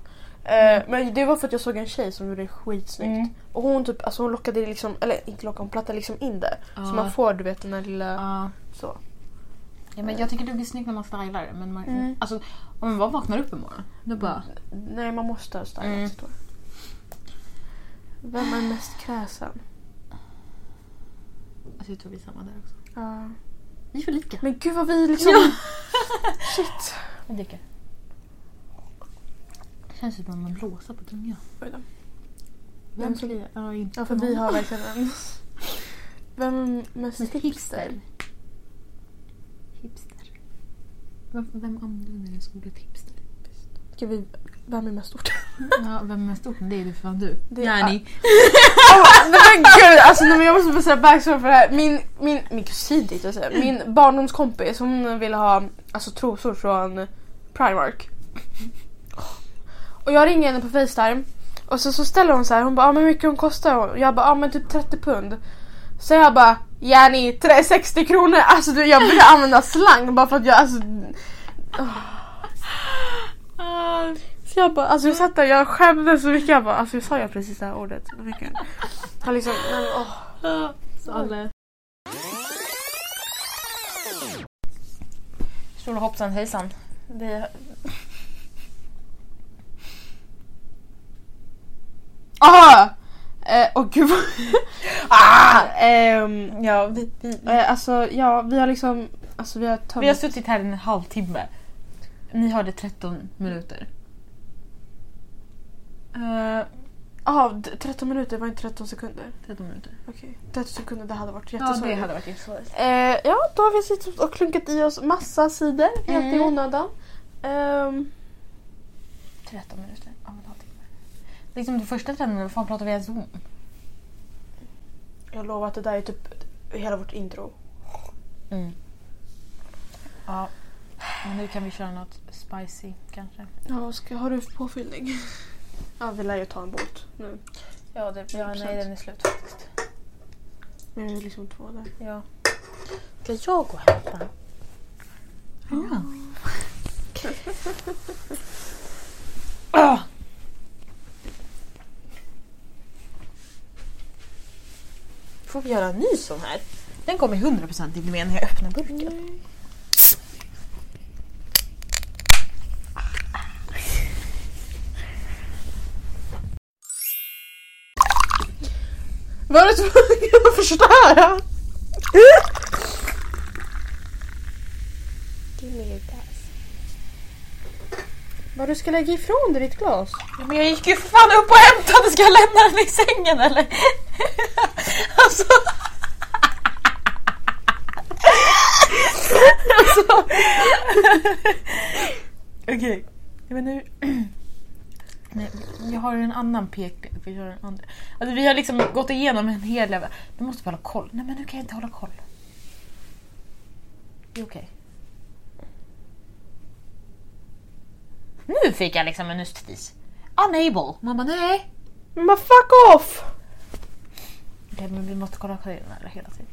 Eh,
Mm.
Men det var för att jag såg en tjej som gjorde det skitsnyggt. Och hon typ, alltså hon lockade liksom, eller inte lockade, hon plattade liksom in det.
Ja.
Så man får du vet den där lilla
Ja.
så.
ja men jag tycker det blir snyggt när man stylar det men man,
Mm.
alltså om man bara vaknar upp imorgon då bara
Nej man måste ha stylat
Mm.
sitt hår. Vem är mest kräsen?
alltså jag tror vi är samma där också.
Ja.
Vi är för lika.
Men gud vad vi liksom... Shit.
Jag dricker. Känns som att man blåser på tungan.
Oj då.
Vem ska vi? Ja, inte
Ja för vi har verkligen en... Vem är mest
Mest
hipster?
hipster. Hipster. Vem, vem använder ens ordet hipster?
Ska vi... Vem är mest ord?
Ja, vem är mest ord? Det är ju för fan du.
Det är-
Yani.
nej men gud alltså nej, men jag måste bara säga backstory för det här. Min, min, min kusin tänkte jag säga. Min barndomskompis hon ville ha alltså, trosor från Primark. Och jag ringer henne på Facetime och så, så ställer hon så här. Hon bara ah, men hur mycket hon kostar hon? Jag bara ah, men typ 30 pund. Så jag bara Jenny 60 kronor. Alltså du, jag började använda slang bara för att jag alltså Så jag bara, alltså jag satt där, jag skämdes så mycket. Jag bara, alltså jag sa jag precis det här ordet? Men vilken- Han liksom, men åh.
Tjolahoppsan hejsan. Vi...
Aha! Eh, åh gud vad... ah! Ehm,
Ja, vi, vi,
eh, alltså ja, vi har liksom, alltså vi har tömt.
vi har suttit här i en halvtimme. Ni hörde 13 minuter.
Eh, Jaha, d- 13 minuter var inte 13 sekunder.
13 minuter.
Okej. 13 sekunder, det hade varit
Ja, det
jättesorgligt.
hade varit jättesorgligt.
eh, ja, då har vi suttit och klunkat i oss massa sidor helt i
Mm.
onödan. Ehm,
13 minuter. Ja, men halvtimme. Liksom de första 13 minuterna, vad fan pratar vi ens om?
jag lovar att det där är typ hela vårt intro.
Ja. Mm. Men nu kan vi köra något spicy kanske.
Ja, ska, har du påfyllning? ja, vi lär ju ta en båt nu.
Ja, det, ja nej den är slut faktiskt.
Men vi är liksom två där.
Ja.
Ska jag gå och hämta?
Ah.
Får vi göra en ny sån här?
Den kommer 100% i mig när jag öppnar burken.
Var du tvungen att förstöra? Vad du ska lägga ifrån dig ditt glas?
Men jag gick ju för fan upp och hämtade, ska jag lämna den i sängen eller? alltså... alltså... Okej. Men nu... Nej, jag har en annan pek... Vi, har en andra. Alltså, vi har liksom gått igenom en hel... jävla- Vi måste bara hålla koll. Nej men nu kan jag inte hålla koll. Det är okej. Nu fick jag liksom en nystis. Unable. Man bara nej.
Men bara fuck off!
Okej, men vi måste kolla skillnader hela tiden.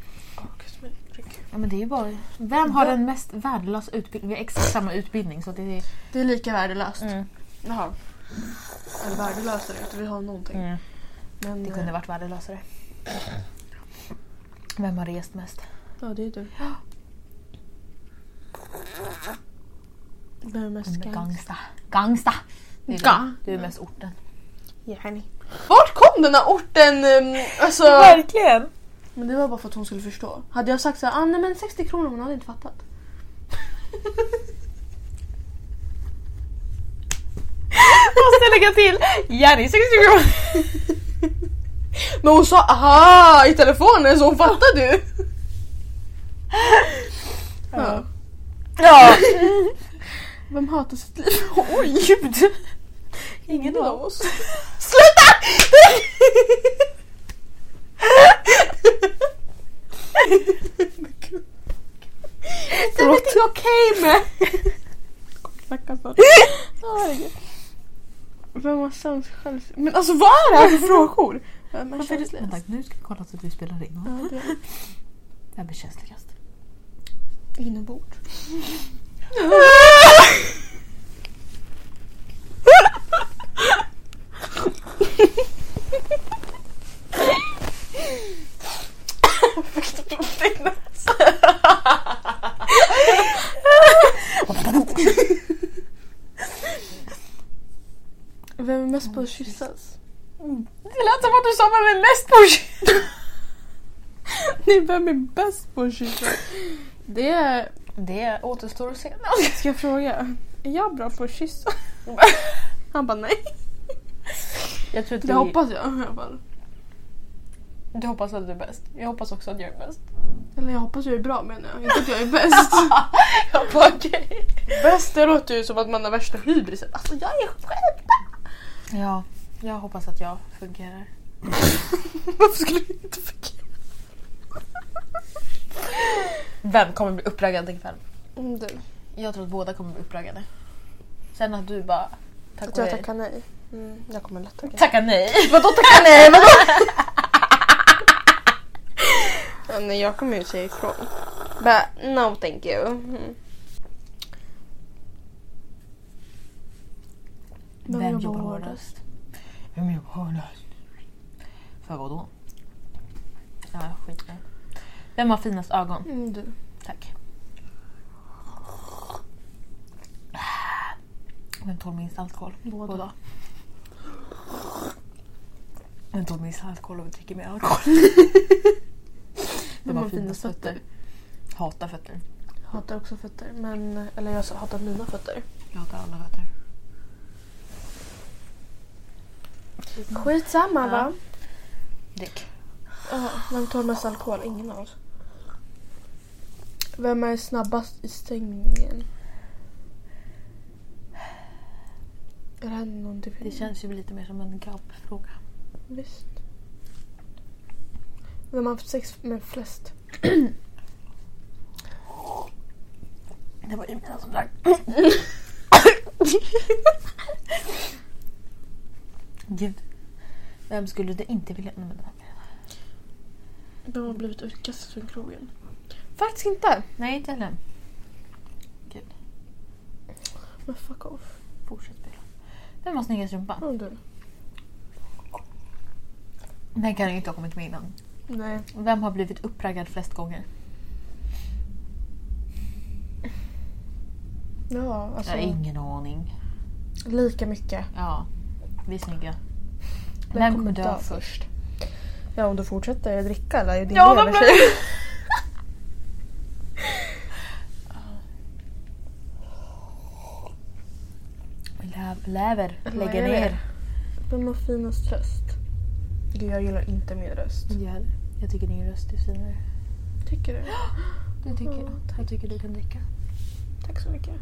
Ja, men det är ju bara... Vem har den mest värdelös utbildning? Vi har exakt samma utbildning så det är...
Det är lika värdelöst.
Mm.
Jaha. Eller värdelöst eller inte, vi har någonting.
Mm.
Men, eh,
Det kunde varit värdelösare. Vem har rest mest?
Ja, det är du. Vem är mest skam?
Gangsta. Gangsta! Det är
Ga.
Du, du är mest orten.
Vart kom den här orten? ehm, Alltså...
Verkligen!
Men det var bara för att hon skulle förstå. Hade jag sagt så här, ah, nej men 60 kronor, hon hade inte fattat.
Måste lägga till! Jenny 60 kronor!
Men hon sa aha i telefonen så hon fattade ju. Ja.
Ja!
Vem hatar sitt liv?
Oj gud!
Ingen av oss.
Sluta!
Det är inte okej med. Vem har sämst självkänsla? Men alltså vad är det här för frågor? Vem är känsligast?
Vänta, nu ska vi kolla så att vi spelar in.
Ja, det är
Vem är känsligast?
Inombords. Vem är mest på att kyssas? Mm.
Det lät som att du sa vem är mest push.
Nej, vem är bäst på att kyssas? Det är...
Det återstår att se.
Ska jag fråga? Är jag bra på att kyssa? Han bara nej.
Jag tror att
Det hoppas jag i alla fall.
du hoppas att du är bäst. Jag hoppas också att jag är bäst.
Eller jag hoppas jag är bra menar jag, inte att jag är bäst.
Jag bara okej.
bäst det låter ju som att man har värsta hybrisen. Alltså jag är själv.
Ja, jag hoppas att jag fungerar.
Varför skulle vi inte förklara?
Vem kommer bli uppraggad ikväll?
Mm, du,
Jag tror att båda kommer bli uppraggade. Sen att du bara tack
att jag tackar nej. Mm, jag kommer lätt tacka
Tacka nej.
Vadå tacka nej? Vadå? ja, nej jag kommer ju säga ifrån. Bara no thank you. Mm.
Vem jobbar hårdast?
Vem jobbar hårdast? För vad då? Ja, skit i det. Vem har finast ögon?
Mm, du.
Tack. Vem tål minst alkohol? Båda. Vem tål minst alkohol och dricker mer alkohol? Vem har finast fötter? Hatar fötter.
Hatar också fötter. Men, eller jag hatar mina fötter.
Jag hatar alla fötter.
Skitsamma va?
Drick.
Ja, vem tar mest alkohol? Ingen av oss. Vem är snabbast i stängningen? Är det här någon typ-
Det känns ju lite mer som en grabbfråga.
Visst. Vem har haft sex med flest?
Det var ju mina som drack. Gud. Vem skulle du inte vilja... Nej, men...
Vem har blivit utkastad från krogen? Faktiskt inte.
Nej, inte heller.
Men fuck off.
Fortsätt spela. Vem har snyggast rumpa?
Ja, du.
Den kan ju inte ha kommit med innan.
Nej.
Vem har blivit uppraggad flest gånger?
Ja, alltså.
Jag har ingen aning.
Lika mycket.
Ja, vi är snygga.
Vem
Vem
kommer
kommer dö
dö
först?
Ja, om du fortsätter dricka eller? Din
Ja,
lever
men-
sig.
Lä- Läver. Lägger
Läver.
ner.
Vem har finast röst? Gud, jag gillar inte min röst.
Jag, jag tycker din röst är finare.
Tycker du?
Det tycker jag. Jag tycker du kan dricka.
Tack så mycket.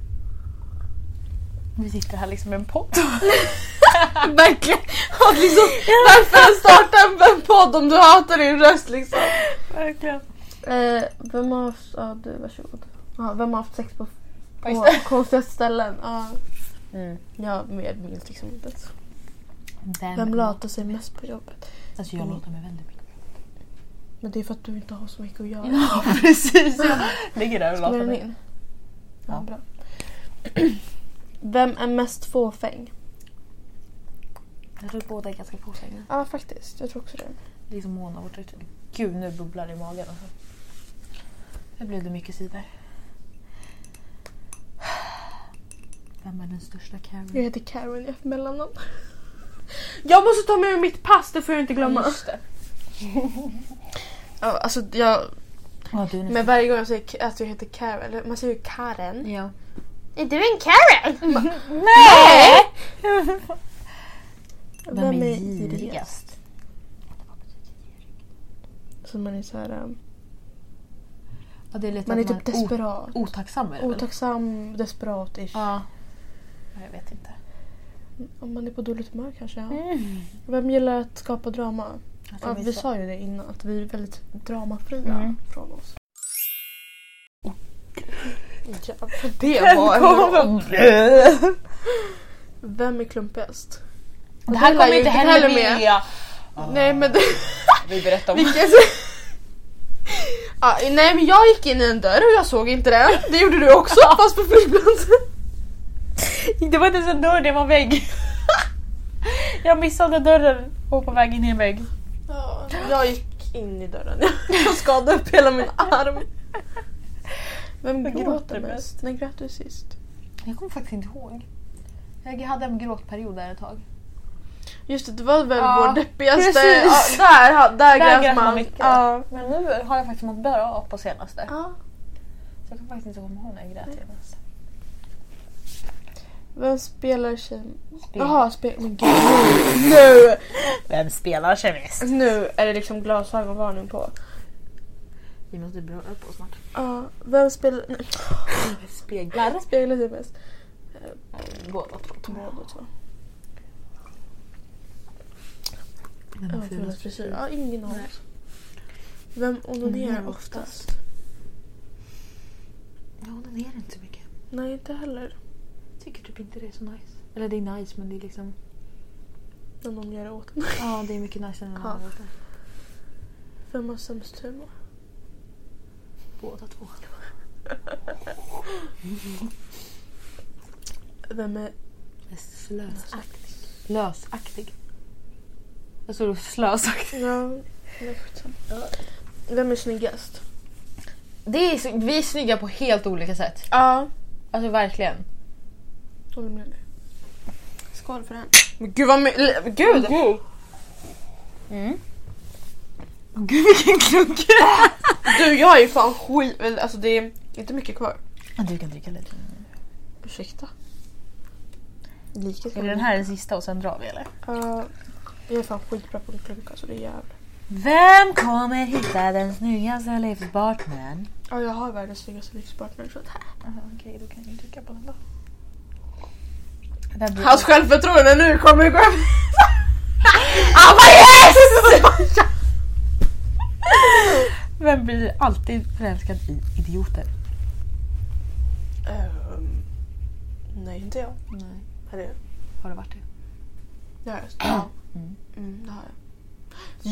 Vi sitter här liksom med en pott.
Verkligen! Och liksom, varför starta en podd om du hatar din röst liksom?
Verkligen.
Eh, vem har haft, ja du varsågod. Ja, vem har haft sex på,
Ja, just
på konstiga ställen? Ja.
Mm.
Jag med- minns liksom inte. ens.
Vem,
Vem latar sig mest på jobbet?
Alltså jag låter mig väldigt mycket.
Men det är för att du inte har så mycket att göra.
Ja precis. Jag ligger där och
Spelar den
mig.
in?
Ja.
Ja, bra. Vem är mest fåfäng?
Jag tror båda är ganska påsägna.
Ja, faktiskt. Jag tror också det.
Det är som Mona vårt rykte. Gud nu bubblar det i magen alltså. Nu blev det mycket sidor. Vem är den största
Jag
Karen?
heter Karen i mellannamn. Jag måste ta med mig mitt pass, det får jag inte glömma. Just det. alltså, jag,
Ja, du är
men varje gång jag säger K- att jag heter Karen, eller man säger ju Karen.
Ja.
Är du en Karen?
Nej!
Vem,
Vem
är
är
girigast?
girigast?
Så man är så här, um,
Ja, det är lite
man är
att
typ
o-
desperat.
Otacksam är det väl?
Otacksam, desperat-ish.
Ja. Ja, Jag vet inte.
Om man är på dåligt humör kanske. Ja. Vem gillar att skapa drama?
Alltså,
Mm. Ja,
Mm. vi
vi
sa-
sa ju det innan, att vi är väldigt dramafria
Mm.
från oss. Jävlar, det
Kom.
var en... Vem är klumpigast?
Det här
Det lär
kommer
ju
inte
inte
heller
heller
vilja.
Nej men...
Vi berättar om.
Vilken... ja, nej men jag gick in i en dörr och jag såg inte den. Det gjorde du också fast på flygplatsen.
Det var inte ens en dörr, det var en vägg. Jag missade dörren och var på väg in i en vägg.
Ja, jag gick in i dörren. Jag skadade upp hela min arm.
Vem
Vem gråter,
gråter
mest?
mest?
När grät du sist?
Jag kommer faktiskt inte ihåg. Jag hade en gråtperiod där ett tag.
Just det, det var väl
Ja,
vår deppigaste...
precis.
Ja, där ha- där,
Där
där
grät
grät
man
man.
mycket.
Ja.
Men nu har jag faktiskt mått bra på senaste.
Ja.
Så jag kan faktiskt inte komma ihåg när jag grät senast.
Vem spelar tjejen?
Spel.
Jaha, spel... Men gud. Nu!
Vem spelar sig mest?
Nu är det liksom glasögonvarning på.
Vi måste börja upp oss snart.
Ja, vem spelar... Nej,
Speglar.
speglar sig mest?
Båda två.
Båda två.
Vem
Ja,
har
fulast
fulast
frisyr.
frisyr?
Ja, ingen av oss. Vem onanerar Mm, oftast?
Ja, den är inte så mycket.
Nej, inte heller.
Tycker typ inte det är så nice. Eller det är nice men det är liksom...
När någon gör det åt en.
Ja, det är mycket nice än den
Ja.
andra.
Vem har sämst humor?
Båda två.
Vem är
Slösaktig. Lösaktig. Vad står det? Slösaktig.
Ja, det är skitsamma. Vem är snyggast?
Det är, så- vi är snygga på helt olika sätt.
Ja.
Alltså verkligen.
Håller med dig.
Skål för den.
Men gud vad my- l- Gud!
Mm. Gud vilken klunk!
Du, jag är ju fan skit... eller, Alltså det är inte mycket kvar.
Du kan dricka lite.
Ursäkta.
Lika
Är det den här den sista och sen drar vi eller?
Uh, jag är fan skitbra på att klunka så det är jävligt.
Vem kommer hitta den snyggaste livspartnern?
Ja, jag har världens snyggaste livspartner så att...
Okej, då kan jag dricka på den då. Alltså- Där blir...
Hans självförtroende nu kommer ju gå över. Ah,
Vem blir alltid förälskad i idioter?
Ehm, nej, inte jag.
Nej.
Eller jag.
Har det varit det?
Det har jag. Ja. Mm, det har jag.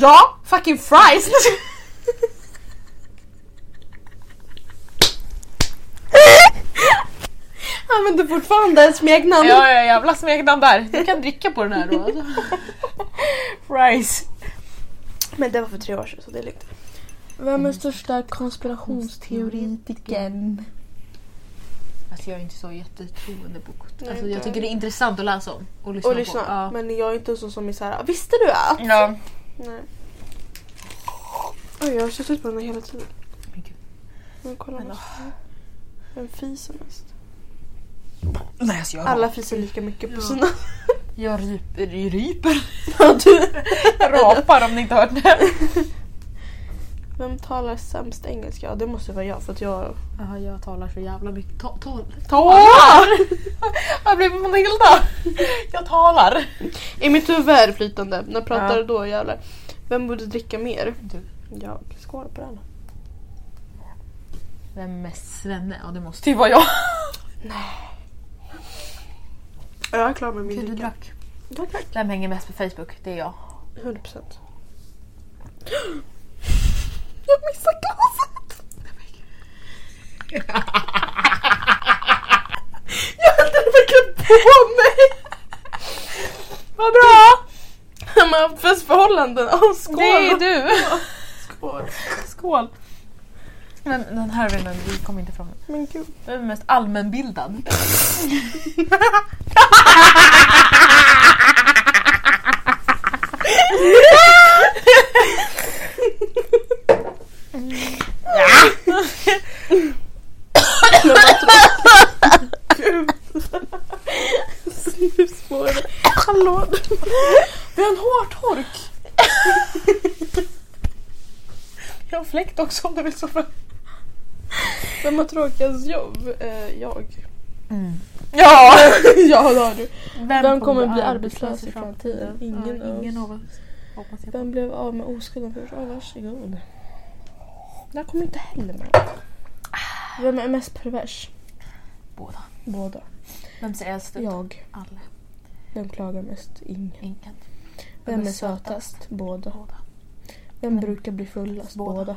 Ja! Fucking fries! Använder fortfarande smeknamn.
Ja, ja, jävla smeknamn där. Du kan dricka på den här då. alltså. Fries.
Men det var för tre år sedan så det är lugnt.
Vem är största
Mm.
konspirationsteoretiken?
Alltså jag är inte så jättetroende på
Nej,
Alltså
inte.
jag tycker det är intressant att läsa om och lyssna,
Och lyssna.
på. Ja.
Men jag är inte så som är såhär, visste du att?
Ja.
Nej. Oj, jag har suttit på den här hela tiden.
Men gud.
Men kolla mest. Vem fiser mest?
Nej, alltså jag
Alla fiser lika mycket på sina.
Jag ryper. ryper. Rapar om ni inte hört det.
Vem talar sämst engelska? Ja, det måste vara jag för att jag...
Ja, jag talar så jävla mycket. Ta, tal.
Talar!
Jag blev Matilda. Jag talar.
I mitt huvud är det flytande. När jag pratar då jävlar. Vem borde dricka mer?
Du.
Jag. Skål på den.
Vem är Svenne? Ja det måste ju vara jag.
Jag är klar med min
Du
dricka.
drack.
Ja, tack.
Vem hänger mest på Facebook? Det är jag.
100 procent. Jag missade glaset! Jag höll det verkligen på mig! Vad bra! Man har haft festförhållanden. Oh, skål!
Det är du.
Skål.
Skål. Men den här vännen, vi kom inte fram.
Men gud.
Vem är mest allmänbildad?
Snusspåret. Hallå! Vi har en hårtork.
Jag har fläkt också om du vill sova.
Vem har tråkigast jobb? Eh, jag.
Mm. Ja!
ja, det har du. Vem kommer bli arbetslös
arbetslös
i framtiden? Ingen,
Ja, ingen
av oss.
av oss. Hoppas jag.
Vem blev av med oskulden först? Oh, varsågod. Det här kommer inte heller med. Vem är mest pervers?
Båda.
Båda.
Vem ser äldst ut?
Jag.
Alla.
Vem klagar mest? Ingen.
Ingen.
Vem är sötast? Båda.
Båda.
Vem brukar bli fullast?
Båda.
Båda.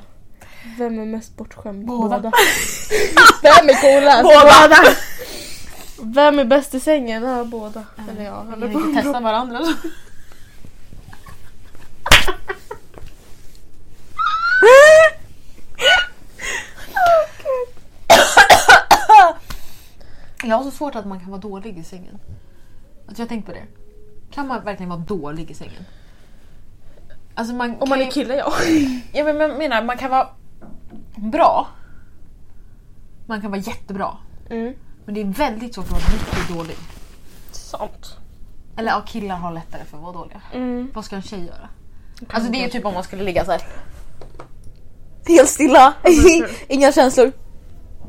Vem är mest bortskämd?
Båda.
Vem är coolast? Båda! Vem är bäst i sängen? Ja, båda. Eller ja,
Vi
eller
kan inte testa varandra. Jag har så svårt att man kan vara dålig i sängen. Alltså jag har tänkt på det. Kan man verkligen vara dålig i sängen? Alltså man
Om
kan
man
ju-
är kille, ja.
Ja men jag menar, man kan vara bra. Man kan vara jättebra.
Mm.
Men det är väldigt svårt att vara riktigt dålig.
Sant.
Eller ja, killar har lättare för att vara dåliga.
Mm.
Vad ska en tjej göra? Alltså det är typ om man skulle ligga så här. Alltså, Helt stilla, inga känslor.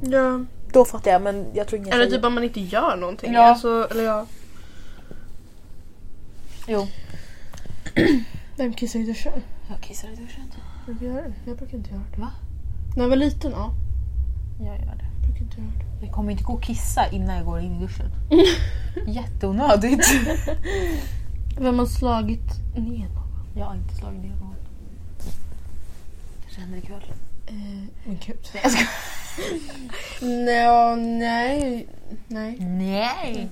Ja.
Då fattar jag men jag tror inga
Eller
tjejer-
typ om man inte gör någonting.
Ja.
Alltså, eller ja.
Jo.
Vem kissar i duschen?
Jag kissar i duschen.
Jag gör det. Jag brukar inte göra det.
Va?
När jag var liten, ja.
Jag gör det.
Jag brukar inte göra det.
Jag kommer inte gå och kissa innan jag går in i duschen. Jätteonödigt.
Vem har slagit ner någon?
Jag har inte slagit ner någon. Kanske händer ikväll.
Men gud.
Nej jag skojar.
Nej, nej. Nej.
Nej.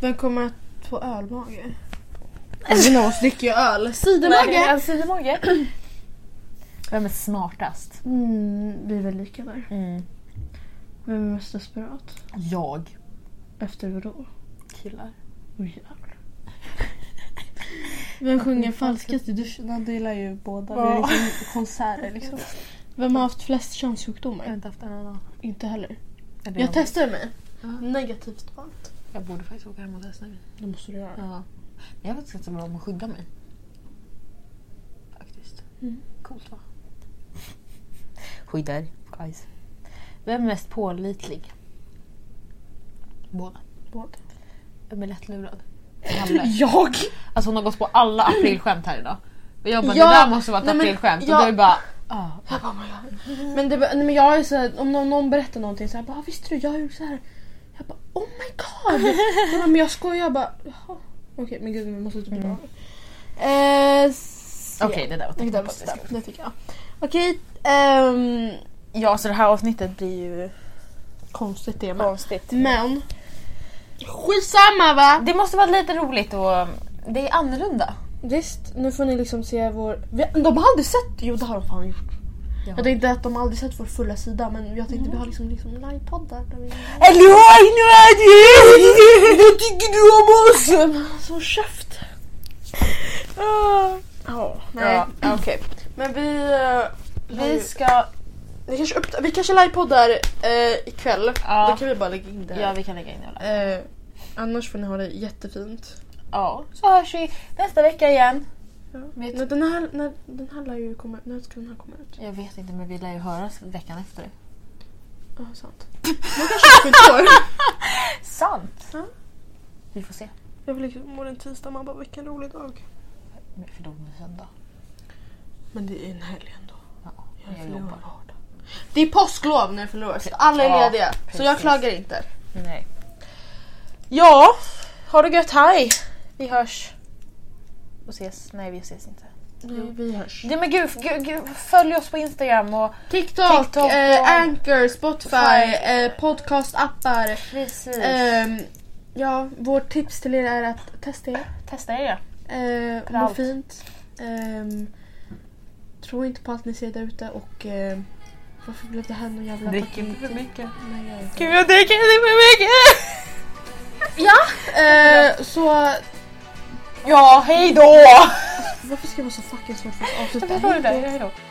Vem kommer att få ölmage? Ingen av oss dricker ju öl. Cidermage!
Mage! Sidemage. Vem är smartast?
Mm, vi är väl lika där.
Mm.
Vem är mest desperat?
Jag.
Efter vadå?
Killar.
Åh jävlar. Vem sjunger falskt i duschen?
Man delar ju båda.
Ja.
Vi är liksom konserter liksom.
Vem har haft flest
Jag har
könssjukdomar?
inte haft en annan.
Inte heller.
Eller
Jag testade mig.
Ja.
Negativt på allt.
jag borde faktiskt åka hem och testa mig.
Det måste du göra.
Ja. Men jag vet inte om de skyddar mig. Faktiskt.
Mm.
Coolt va? Skyddar, guys. Vem är mest pålitlig? Båda.
Båda.
Vem är lättlurad? Kalle.
Jag!
Alltså hon har gått på alla aprilskämt här idag. Och jag bara,
Ja,
det där måste vara ett
nej, men
aprilskämt.
jag-
Och du är bara, ah.
oh Men, det, nej, men jag är så här, om någon, någon berättar någonting så här, bara, visste du jag har gjort så här. Jag bara oh my god. Hon bara, men jag skojar jag bara jaha. Okej men gud vi måste typ dra.
Mm.
Eh, se.
Okej det där var
Det
tecknet
där
på att vi
måste
ska-
stämma, det tycker jag. Okej. ehm,
Ja, så det här avsnittet blir ju
konstigt tema.
konstigt.
Men. Skitsamma va?
Det måste vara lite roligt och det är annorlunda.
Visst, nu får ni liksom se vår... vi- De har aldrig sett... Jo det har de fan gjort. Jag tänkte att de aldrig sett vår fulla sida men jag tänkte vi har liksom, liksom livepoddar där vi...
Hallå! Nu är det! Vad tycker du om oss?
Så käft!
Ah.
Ja,
Ja, okej.
Men vi... eh,
Vi ska...
Vi kanske, upp, vi kanske livepoddar eh, ikväll.
Ja.
Då kan vi bara lägga in det här.
Ja, vi kan lägga in det. alla.
Eh, annars får ni ha det jättefint.
Ja, så hörs vi nästa vecka igen.
Vet när den här, när, den här lär ju komma, när ska den här komma ut?
Jag vet inte men vi lär ju höras veckan efter.
Ja, sant. Man kanske har fyllt år.
Sant!
Ja.
Mm. Vi får se.
Jag vill liksom må den tisdag, man bara vilken rolig dag.
Men För då är det söndag.
Men det är en helg ändå.
Jag,
förlorar.
jobbar.
Det är påsklov när jag förlorar så alla är
Ja,
lediga. så jag
precis.
klagar inte.
Nej.
Ja, ha det gött. Hej! Vi hörs. Och ses. Nej, vi ses inte.
Vi, vi hörs.
Nej men gud, gud, gud följ oss på Instagram och
TikTok,
TikTok
eh,
och-
Anchor, Spotify,
Spotify.
eh, podcastappar.
precis.
Ehm, ja, vårt tips till er är att testa er.
Testa er.
Eh, må
Överallt.
fint. Ehm, tro inte på allt ni ser där ute och eh, varför blev det här någon jävla
Drick inte
paket?
för mycket.
Nej, jag vet inte.
Gud, jag dricker lite för mycket!
Eh, så
Ja, hej då!
varför ska det vara så fucking svårt för oss att avsluta?
Hej då. Hej då.